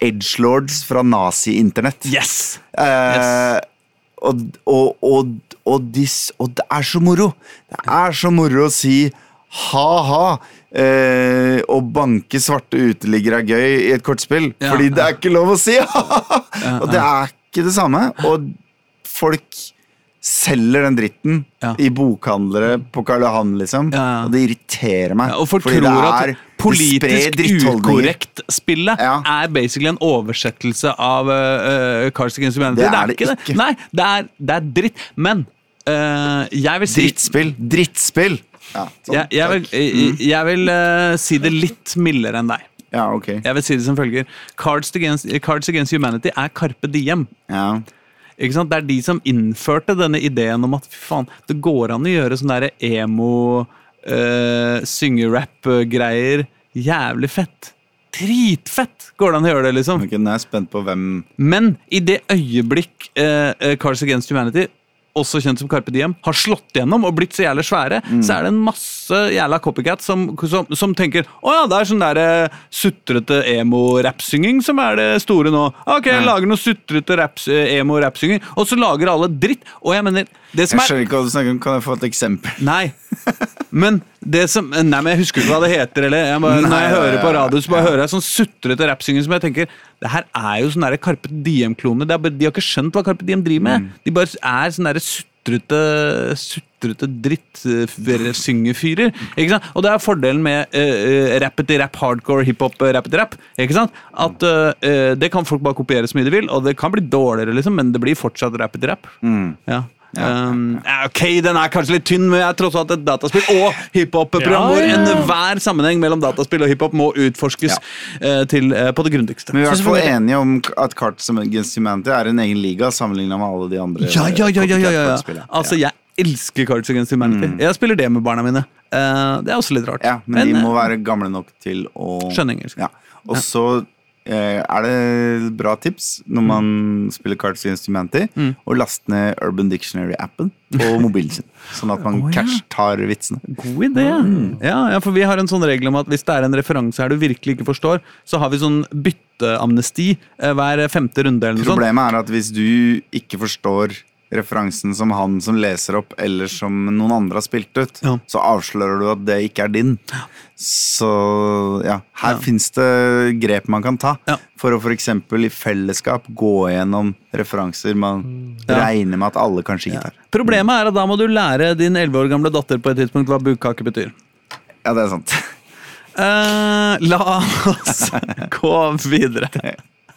C: edgelords fra nazi-internett.
A: yes!
C: Eh, og, og, og, og, de, s- og det er så moro. Det er så moro å si ha-ha. Eh, å banke svarte uteliggere er gøy i et kortspill.
A: Ja,
C: fordi det er ikke lov å si ha-ha! Og det er ikke det samme. Og folk selger den dritten
A: Ja.
C: i bokhandlere på Karl Johan, liksom.
A: Ja.
C: Og det irriterer meg.
A: Ja, og folk
C: fordi det
A: tror
C: er-
A: at politisk
C: det sprer drittholdninger.
A: ukorrekt-spillet
C: Ja.
A: er basically en oversettelse av øh, øh, Cards Against Humanity.
C: Det er det ikke.
A: Nei, det er, det er dritt. Men øh, jeg vil si
C: Drittspill! Drittspill! Ja, sånn.
A: jeg, jeg vil, jeg, jeg vil øh, si det litt mildere enn deg.
C: ja ok.
A: Jeg vil si det som følger Cards Against, Cards Against Humanity er Carpe Diem.
C: Ja.
A: Ikke sant? Det er de som innførte denne ideen om at fy faen, det går an å gjøre sånne der emo, uh, syngerap-greier jævlig fett. Dritfett går det an å gjøre det, liksom.
C: Ok, nå er jeg spent på hvem
A: Men i det øyeblikk eh, eh, Cars Against Humanity også kjent som Carpe Diem, har slått gjennom og blitt så jævlig svære,
C: Mm.
A: så er det en masse jævla copycat som, som, som tenker å ja, det er sånn der eh, sutrete emo-rappsynging som er det store nå. Ok, jeg lager noe sutrete raps- eh, emo-rappsynging, og så lager alle dritt. Og jeg mener, det som
C: Jeg
A: er
C: skjønner ikke hva du snakker om. Kan jeg få et eksempel?
A: Nei. Men det som Nei, men jeg husker ikke hva det heter. Eller. Jeg bare, når
C: Nei,
A: jeg
C: ja,
A: hører på
C: ja, ja.
A: radio, så bare hører jeg sånn sutrete rappsynging som jeg tenker Det her er jo sånn der Carpe Diem-klone. Det er bare- De har ikke skjønt hva Carpe Diem driver
C: Mm.
A: med. De bare er sånn derre sutrete Sutrete dritt-syngefyrer. Ikke sant? Og det er fordelen med uh, rappety-rap, hardcore, hiphop, eh, rappety-rap. Ikke sant? At eh, eh, det kan folk bare kopiere så mye de vil, og det kan bli dårligere, liksom, men det blir fortsatt rappety-rap.
C: Mm.
A: Ja. Um, ja, ok, den er kanskje litt tynn, men jeg er tross alt et dataspill og hiphop-program
B: Ja,
A: hvor
B: ja.
A: enhver sammenheng mellom dataspill og hiphop må utforskes eh, til, eh, på det grundigste.
C: Men vi er i
B: Så
C: hvert fall
B: selvfølgelig-
C: enige om at Cards Against Humanity er en egen liga sammenligna med alle de andre.
A: Ja, ja, ja, ja, ja, ja, ja.
C: copycat-spillene.
A: Altså, jeg elsker Cards Against Humanity. Jeg spiller det med barna mine. Eh, det er også litt rart.
C: Mm. Ja, men,
A: eh,
C: de må være gamle nok til å
A: Skjønne engelsk.
C: Ja. Og så eh, er det bra tips
A: Mm.
C: når man spiller Cards Against Humanity, å laste ned Urban Dictionary-appen på mobilen sin. Sånn at man
A: Å, ja.
C: catch tar vitsene.
A: God idé!
C: Mm.
A: Ja, ja, for vi har en sånn regel om at hvis det er en referanse her du virkelig ikke forstår, så har vi sånn bytteamnesti eh, hver femte runde eller noe sånt.
C: Problemet er at hvis du ikke forstår referansen som han som leser opp, eller som noen andre har spilt ut,
A: Ja.
C: så avslører du at det ikke er din. Så ja, her finnes det grep man kan ta
A: Ja.
C: for å f.eks. i fellesskap gå gjennom referanser man
A: Mm. Ja.
C: regner med at alle kanskje ikke tar.
A: Problemet er at da må du lære din 11 år gamle datter på et tidspunkt hva bukkake betyr.
C: Ja, det er sant.
A: Eh, la oss gå videre.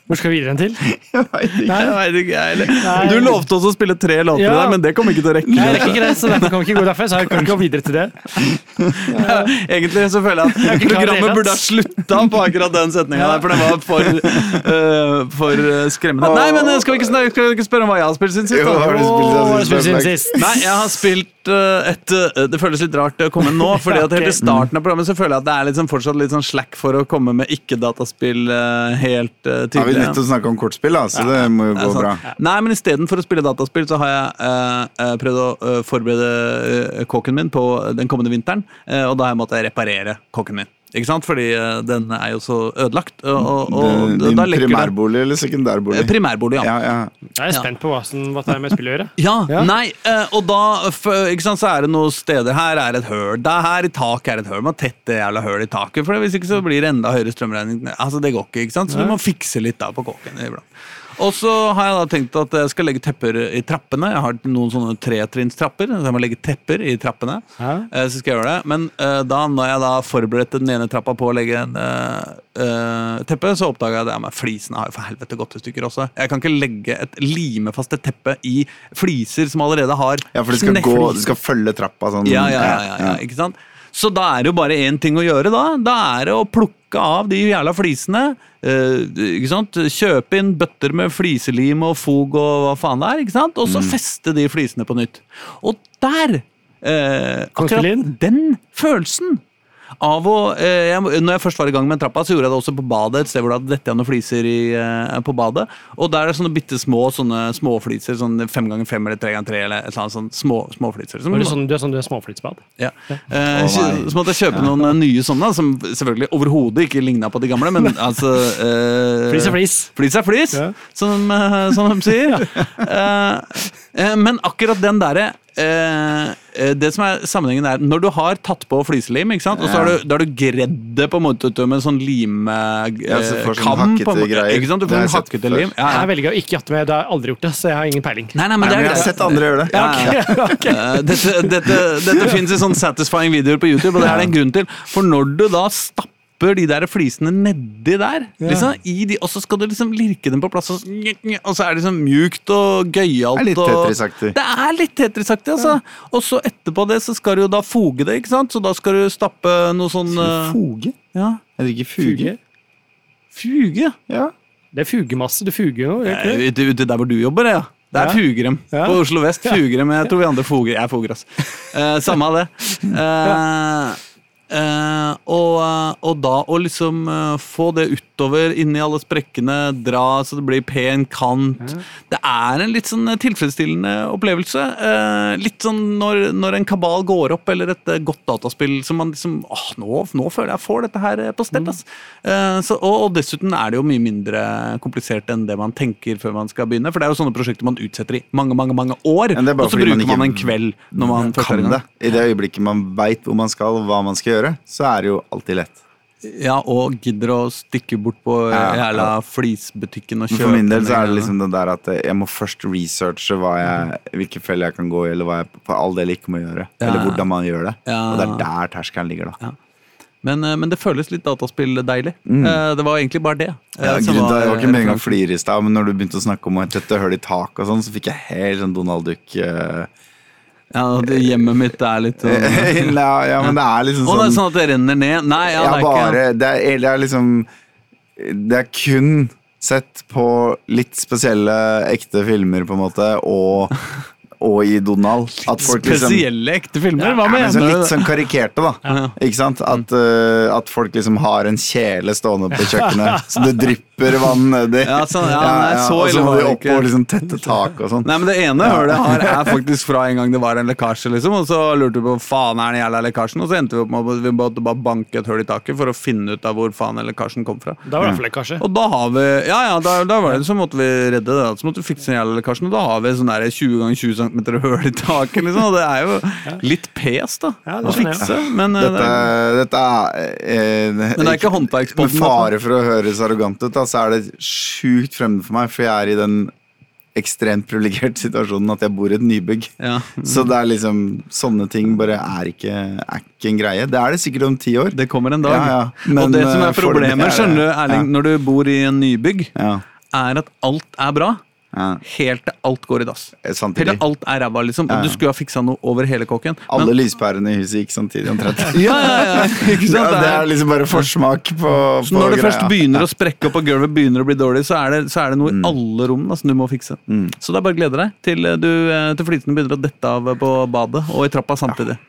B: Hvor skal vi videre enn til?
C: Jeg vet ikke.
A: Jeg vet ikke, jeg heller.
B: Nei.
A: Du lovte oss å spille tre låter
B: Ja.
A: der, men det kommer ikke til å rekke.
B: Nei, det er ikke greit, så derfor kan vi ikke gå derfra. Så jeg kan ikke gå videre til det.
A: Egentlig så føler jeg at
B: ikke klar i det
A: programmet
B: hele
A: burde ha slutta på akkurat den setninga der, for den var for, eh, for eh, skremmende. Nei, men eh, skal vi ikke, snakke, skal vi ikke spørre om hva jeg har spilt siden sist?
C: Jo,
A: da?
C: hva har du
B: Åh,
C: spilt
B: hva er
C: siden
B: det som
C: sist?
B: siden sist?
A: Nei, jeg har spilt eh, et eh, Det føles litt rart å komme nå, Fordi at helt i starten av programmet så føler jeg at det er litt sånn, fortsatt litt sånn slack for å komme med ikke-dataspill eh, helt eh,
C: Har vi
A: tidlig.
C: nettopp snakka om kortspill, da, så det må jo
A: Det er
C: gå bra.
A: sant. Nei, men istedenfor å spille dataspill, så har jeg eh, eh, prøvd å eh, forberede eh, kåken min på den kommende vinteren. eh, og da har jeg måttet reparere kåken min. Ikke sant? Fordi eh, den er jo så ødelagt. Og, og, og
C: Din- Mm. Din
A: da lekker det-
C: primærbolig eller sekundærbolig?
A: Eh, Primærbolig, ja.
C: ja, ja.
B: Jeg er spent på hva som hva det er med spillet å gjøre.
A: Ja,
B: Ja.
A: nei, eh, og da f- ikke sant, så er det noen steder her er et høl. Der her i taket er et høl. Man tetter jævla høl i taket, for hvis ikke så blir det enda høyere strømregning. Altså, det går ikke, ikke sant? Så du må fikse litt da på kåken iblant. Og så har jeg da tenkt at jeg skal legge tepper i trappene. Jeg har noen sånne tretrinnstrapper, så jeg må legge tepper i trappene.
B: Ja.
A: Eh, Så skal jeg gjøre det. Men eh, da når jeg da forberedte den ene trappa på å legge en eh, eh, teppe, så oppdaga jeg det. Ja, men flisene har jo for helvete gått i stykker også. Jeg kan ikke legge et limefast et teppe i fliser som allerede har
C: ja, for du skal, gå,
A: knefliser.
C: du skal følge trappa sånn.
A: Ja, ja, ja, ja, ja, ikke sant? Så da er det jo bare én ting å gjøre, da. Da er det å plukke av de jævla flisene. eh, ikke sant? Kjøpe inn bøtter med fliselim og fog og hva faen det er. ikke sant? Og så feste de flisene på nytt. Og der eh,
B: Kom til inn.
A: Akkurat den følelsen av å eh, jeg, Når jeg først var i gang med trappa, så gjorde jeg det også på badet. Et sted hvor det hadde dette igjen noen fliser i, eh, på badet. Og der er det sånne bitte små sånne småfliser. Sånn fem ganger fem eller tre ganger tre. Eller et eller annet sånn små, småfliser. som-
B: Var det sånn, du er sånn du er småflytsbad?
A: ja. Eh,
C: Å,
A: kjø-
C: nei.
A: så måtte jeg kjøpe noen eh, nye sånne, som selvfølgelig overhodet ikke ligna på de gamle, men altså eh,
B: Flis er flis.
A: Flis er flis,
B: Ja.
A: som, eh, som de sier. Eh, eh, men akkurat den derre eh, eh, det som er sammenhengen er Når du har tatt på fliselim, ikke sant? og så har du, da har du gredd det på en måte ut med en sånn limekam
C: Ja, så du får sånn hakkete greier.
A: Ikke sant? Du
C: Det
A: får
C: har
A: en
C: jeg sett
A: hakkete
C: før.
A: lim. Ja,
B: Jeg
A: ja.
B: velger å ikke jatte med, det har jeg aldri gjort det, så jeg har ingen peiling.
A: Nei, nei, men
C: Nei,
A: det er
C: men jeg har
A: greit.
C: sett andre gjøre det.
A: Ja, ja, ja. Eh, dette, dette, dette finnes i sånn satisfying videoer på YouTube, og det er det en grunn til. For når du da stapper de der flisene nedi der, liksom, i de, og så skal du liksom lirke dem på plass, og så, og så er det liksom mjukt og gøyalt.
C: Det er litt
A: og-
C: Tetris-aktig.
A: Det er litt Tetris-aktig, altså. Og så etterpå det så skal du jo da foge det, ikke sant? Så da skal du stappe noe sånn eh,
C: Foge?
A: ja,
C: Jeg drikker fuge.
A: Fuge?
C: Ja.
B: Det er fugemasse. Du fuger jo. gjør du ikke det?
A: Eh, Ute, ute der hvor du jobber, ja. Det er
B: Ja.
A: Fugrem.
B: Ja.
A: På Oslo vest. Fugrem. Jeg tror vi andre foger. Jeg foger, ass. Eh, samme av det. Eh, Eh, og, og da å liksom eh, få det utover, inni alle sprekkene, dra så det blir pen kant Det er en litt sånn tilfredsstillende opplevelse. Eh, litt sånn når, når en kabal går opp, eller et eh, godt dataspill som man liksom åh, nå, nå føler jeg jeg får dette her eh, på
C: Mm.
A: stell, ass. Eh, så, og, og dessuten er det jo mye mindre komplisert enn det man tenker før man skal begynne. For det er jo sånne prosjekter man utsetter i mange, mange mange år,
C: Ja, det er
A: og
C: bare
A: så
C: fordi man
A: bruker man,
C: ikke
A: en kveld når man først er i
C: kan
A: gang.
C: det. I det øyeblikket man veit hvor man skal, og hva man skal gjøre, så er det jo alltid lett.
A: Ja, og gidder å stikke bort på
C: Ja, ja.
A: jævla flisbutikken og
C: Men
A: kjøpe
C: For min del så
A: den
C: er det
A: greia.
C: liksom det der at jeg må først researche hva jeg, hvilke feller jeg kan gå i, eller hva jeg for all del ikke må gjøre.
A: Ja.
C: Eller hvordan man gjør det.
A: Ja.
C: Og det er der terskelen ligger, da.
A: men, eh, men det føles litt dataspill-deilig. Eh, Det var egentlig bare det. eh,
C: Mm. Ja,
A: som
C: grunnen til at Jeg var ikke med en gang
A: referansen.
C: flir i stad, men når du begynte å snakke om å tette hull i tak og sånn, så fikk jeg helt sånn Donald Duck eh,
A: Ja, det, Hjemmet mitt er litt sånn Å,
C: ja, ja, men det er liksom
A: det er
C: sånn
A: sånn at det renner ned? Nei, ja,
C: jeg
A: det er
C: har bare
A: ikke
C: det er, det er liksom Det er kun sett på litt spesielle ekte filmer, på en måte, og, og i Donald. At folk liksom
A: Spesielle ekte filmer? Hva
C: Ja, men
A: mener
C: sånn
A: du?
C: litt sånn karikerte, da. Ikke sant? At, eh, at folk liksom har en kjele stående på kjøkkenet, så det drypper vann nedi.
A: Ja, sånn, ja, nei, så
C: og
A: ille
C: så må
A: var
C: de
A: det
C: opp og
A: ikke.
C: liksom tette tak og sånn.
A: Nei, men Det ene hølet jeg har, er faktisk fra en gang det var en lekkasje. liksom, Og så lurte vi på faen er den jævla lekkasjen, og så endte vi opp med at vi måtte bare banke et hull i taket for å finne ut av hvor faen den lekkasjen kom fra.
B: Da var det iallfall lekkasje.
A: Og da har vi Ja, ja, da, da var det så måtte vi redde det. da. Så måtte vi fikse den jævla lekkasjen. Og da har vi sånn der 20 ganger 20 cm høl i taket, liksom. Og det er jo litt pes, da.
B: Ja, det
A: å
B: skjønner jeg.
A: fikse. Men eh,
C: Dette,
A: det er,
C: dette er eh,
A: Men det er ikke håndverkspodden,
C: Med fare for å høres arrogant ut, da, så er det sjukt fremmed for meg, for jeg er i den ekstremt privilegerte situasjonen at jeg bor i et nybygg.
A: ja.
C: Så det er liksom sånne ting bare er ikke, er ikke en greie. Det er det sikkert om ti år.
A: Det kommer en dag.
C: Ja, ja. Men,
A: og det som
C: eh,
A: er
C: foreløpig er
A: problemet,
C: det-
A: skjønner du, Erling,
C: ja.
A: når du bor i en nybygg,
C: Ja,
A: er at alt er bra.
C: ja. Eh,
A: Helt til alt går i dass. Helt
C: Samtidig.
A: til alt er ræva, liksom.
C: Ja, ja.
A: Og du skulle ha fiksa noe over hele kåken.
C: Alle lyspærene i huset gikk samtidig omtrent.
A: Ja, ja, ja, ikke sant?
C: Ja, det
A: Det er-
C: er liksom bare forsmak på, på
A: Så når det
C: greia. Mm.
A: først begynner å sprekke opp og gulvet begynner å bli dårlig, så er det, så er det noe i alle rom da, som du må fikse. Så det er bare å glede deg til, eh, du, eh, til flytene begynner å dette av på badet og i trappa samtidig.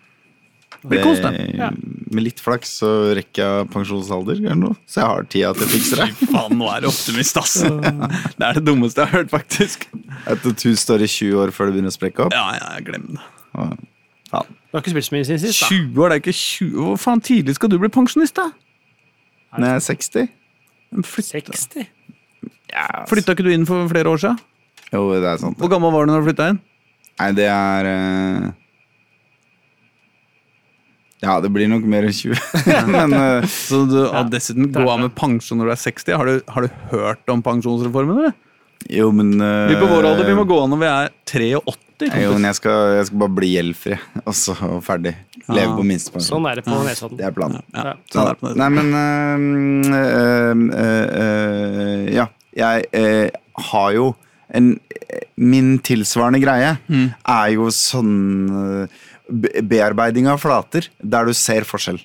A: Det blir kos, det.
C: Det- Med litt flaks så rekker jeg pensjonsalder, eller noe. så jeg har tida til å fikse det.
A: Faen, nå er du optimist, ass! Det er det dummeste jeg har hørt, faktisk.
C: Et et hus står i 20 år før det begynner å sprekke opp.
A: Ja, ja, glem det.
C: Og-
B: Du har ikke spilt så mye siden sist, da.
A: 20 år, det er ikke 20 Hvor faen tidlig skal du bli pensjonist, da?
C: Når jeg er 60
A: Flytta,
B: 60?
A: flytta ikke du inn for flere år siden?
C: Jo, det er sant.
A: Hvor gammel var du når du flytta inn?
C: Nei, det er eh, Ja, det blir nok mer enn 20. Men eh,
A: Så du og dessuten gå av med pensjon når du er 60? Har du, har du hørt om pensjonsreformen, eller?
C: jo, men eh,
A: Vi på vår alder, vi må gå av når vi er 83.
C: Jo, men jeg skal, jeg skal bare bli gjeldfri, og så ferdig. Leve på minstepensjon.
B: Sånn er det på Nesodden.
C: Det er planen.
A: Ja,
B: Ja.
A: sånn er det på det.
C: Nei, men ehm, øhm, øhm, øh, øh, Ja. Jeg øh, har jo en Min tilsvarende greie
A: Mm.
C: er jo sånn øh, be- bearbeiding av flater der du ser forskjell.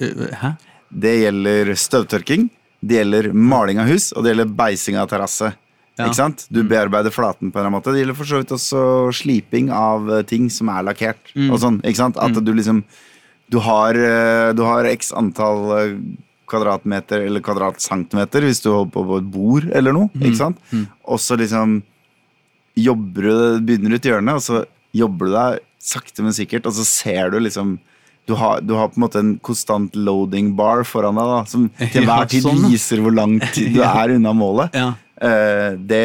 A: Uh, Hæ?
C: Det gjelder støvtørking, det gjelder maling av hus, og det gjelder beising av terrasse.
A: Ja. Mm.
C: Ikke sant? Du bearbeider flaten på en eller annen måte. Det gjelder for så vidt også sliping av eh, ting som er lakkert.
A: Mm.
C: Og sånn, ikke sant? At du liksom Du har, eh, du har x antall eh, kvadratmeter eller kvadratcentimeter hvis du holder på på et bord eller noe.
A: Mm,
C: Ikke sant? Og så liksom jobber du, begynner du et hjørne, og så jobber du deg sakte, men sikkert, og så ser du liksom du har, du har på en måte en konstant loading bar foran deg, da, som til
A: Ja,
C: hver tid
A: sånn, ja.
C: viser hvor lang tid du er unna målet.
A: Ja.
C: Eh, det,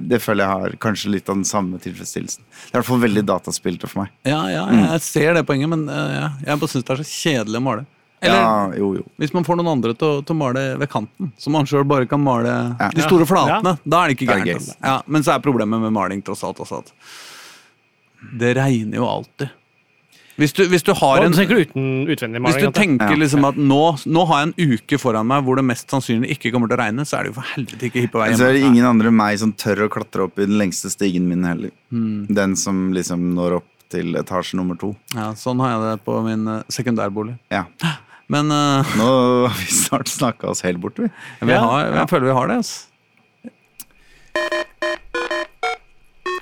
C: det føler jeg har kanskje litt av den samme tilfredsstillelsen. Det er i hvert fall veldig dataspilte for meg.
A: Ja, ja,
C: Mm.
A: jeg ser det poenget, men eh, ja, jeg bare syns det er så kjedelig å male. Eller
C: ja, jo, jo.
A: hvis man får noen andre til, å- til å male ved kanten, så man sjøl bare kan male
C: Ja.
A: de store
B: Ja.
A: flatene, da er det ikke
C: Da er det
A: gærent.
C: gøy.
A: Ja, men så er problemet med maling tross alt også at det regner jo alltid. Hvis du, hvis du har
B: Og
A: en
B: du tenker uten utvendig
A: hvis
B: maling?
A: du
B: at det-
A: tenker
C: Ja.
A: liksom at nå, nå har jeg en uke foran meg hvor det mest sannsynlig ikke kommer til å regne, så er det jo for helvete ikke hipp å være
C: Så er det
A: hjemme.
C: ingen andre enn meg som tør å klatre opp i den lengste stigen min heller.
A: Hmm.
C: Den som liksom når opp til etasje nummer to.
A: Ja, sånn har jeg det på min eh, sekundærbolig.
C: Ja.
A: Men eh,
C: Nå har vi snart snakka oss helt bort, vi.
A: vi
B: Ja,
A: har, jeg føler vi har det. Altså.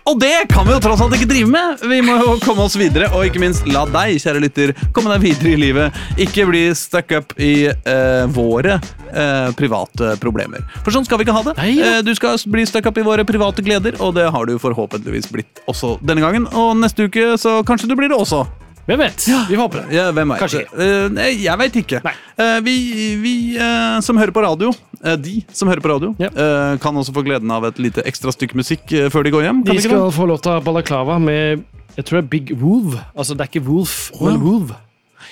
A: Og det kan vi jo tross alt ikke drive med! Vi må jo komme oss videre, og ikke minst la deg, kjære lytter, komme deg videre i livet. Ikke bli stuck up i eh, våre eh, private problemer. For sånn skal vi ikke ha det.
B: Nei da.
A: Eh, du skal bli stuck up i våre private gleder, og det har du forhåpentligvis blitt også denne gangen. Og neste uke så kanskje du blir det også.
B: Hvem vet? Vi får håpe det.
A: Ja, hvem vet?
B: Kanskje
A: Eh, nei, jeg veit ikke.
B: Nei.
A: Eh, vi vi eh, som hører på radio, eh, de som hører på radio,
B: Ja.
A: eh, kan også få gleden av et lite ekstra stykke musikk eh, før de går hjem. Kan
B: De
A: de ikke det?
B: skal få låta Balaklava med jeg tror det er Big Wolf. Altså, det er ikke Wolf, men Wolf.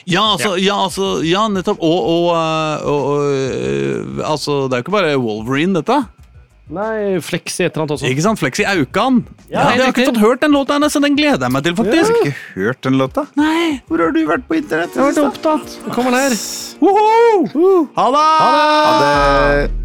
A: Ja, altså, ja. altså, ja, nettopp. Og, og, eh, og, og eh, Altså, det er jo ikke bare Wolverine, dette.
B: Nei, Flex i et eller annet også.
A: Ikke sant? Flexi Aukan. Ja, jeg
B: Ja,
A: har
B: helt
A: ikke
B: riktig.
A: fått hørt den låta hennes, så den gleder jeg meg til, faktisk.
C: Ikke hørt den låta?
A: Nei,
C: Hvor har du vært på
B: então,
C: internett?
B: tá Jeg har vært opptatt. Kommer den her.
A: Woho! Ha det!
C: Ha det!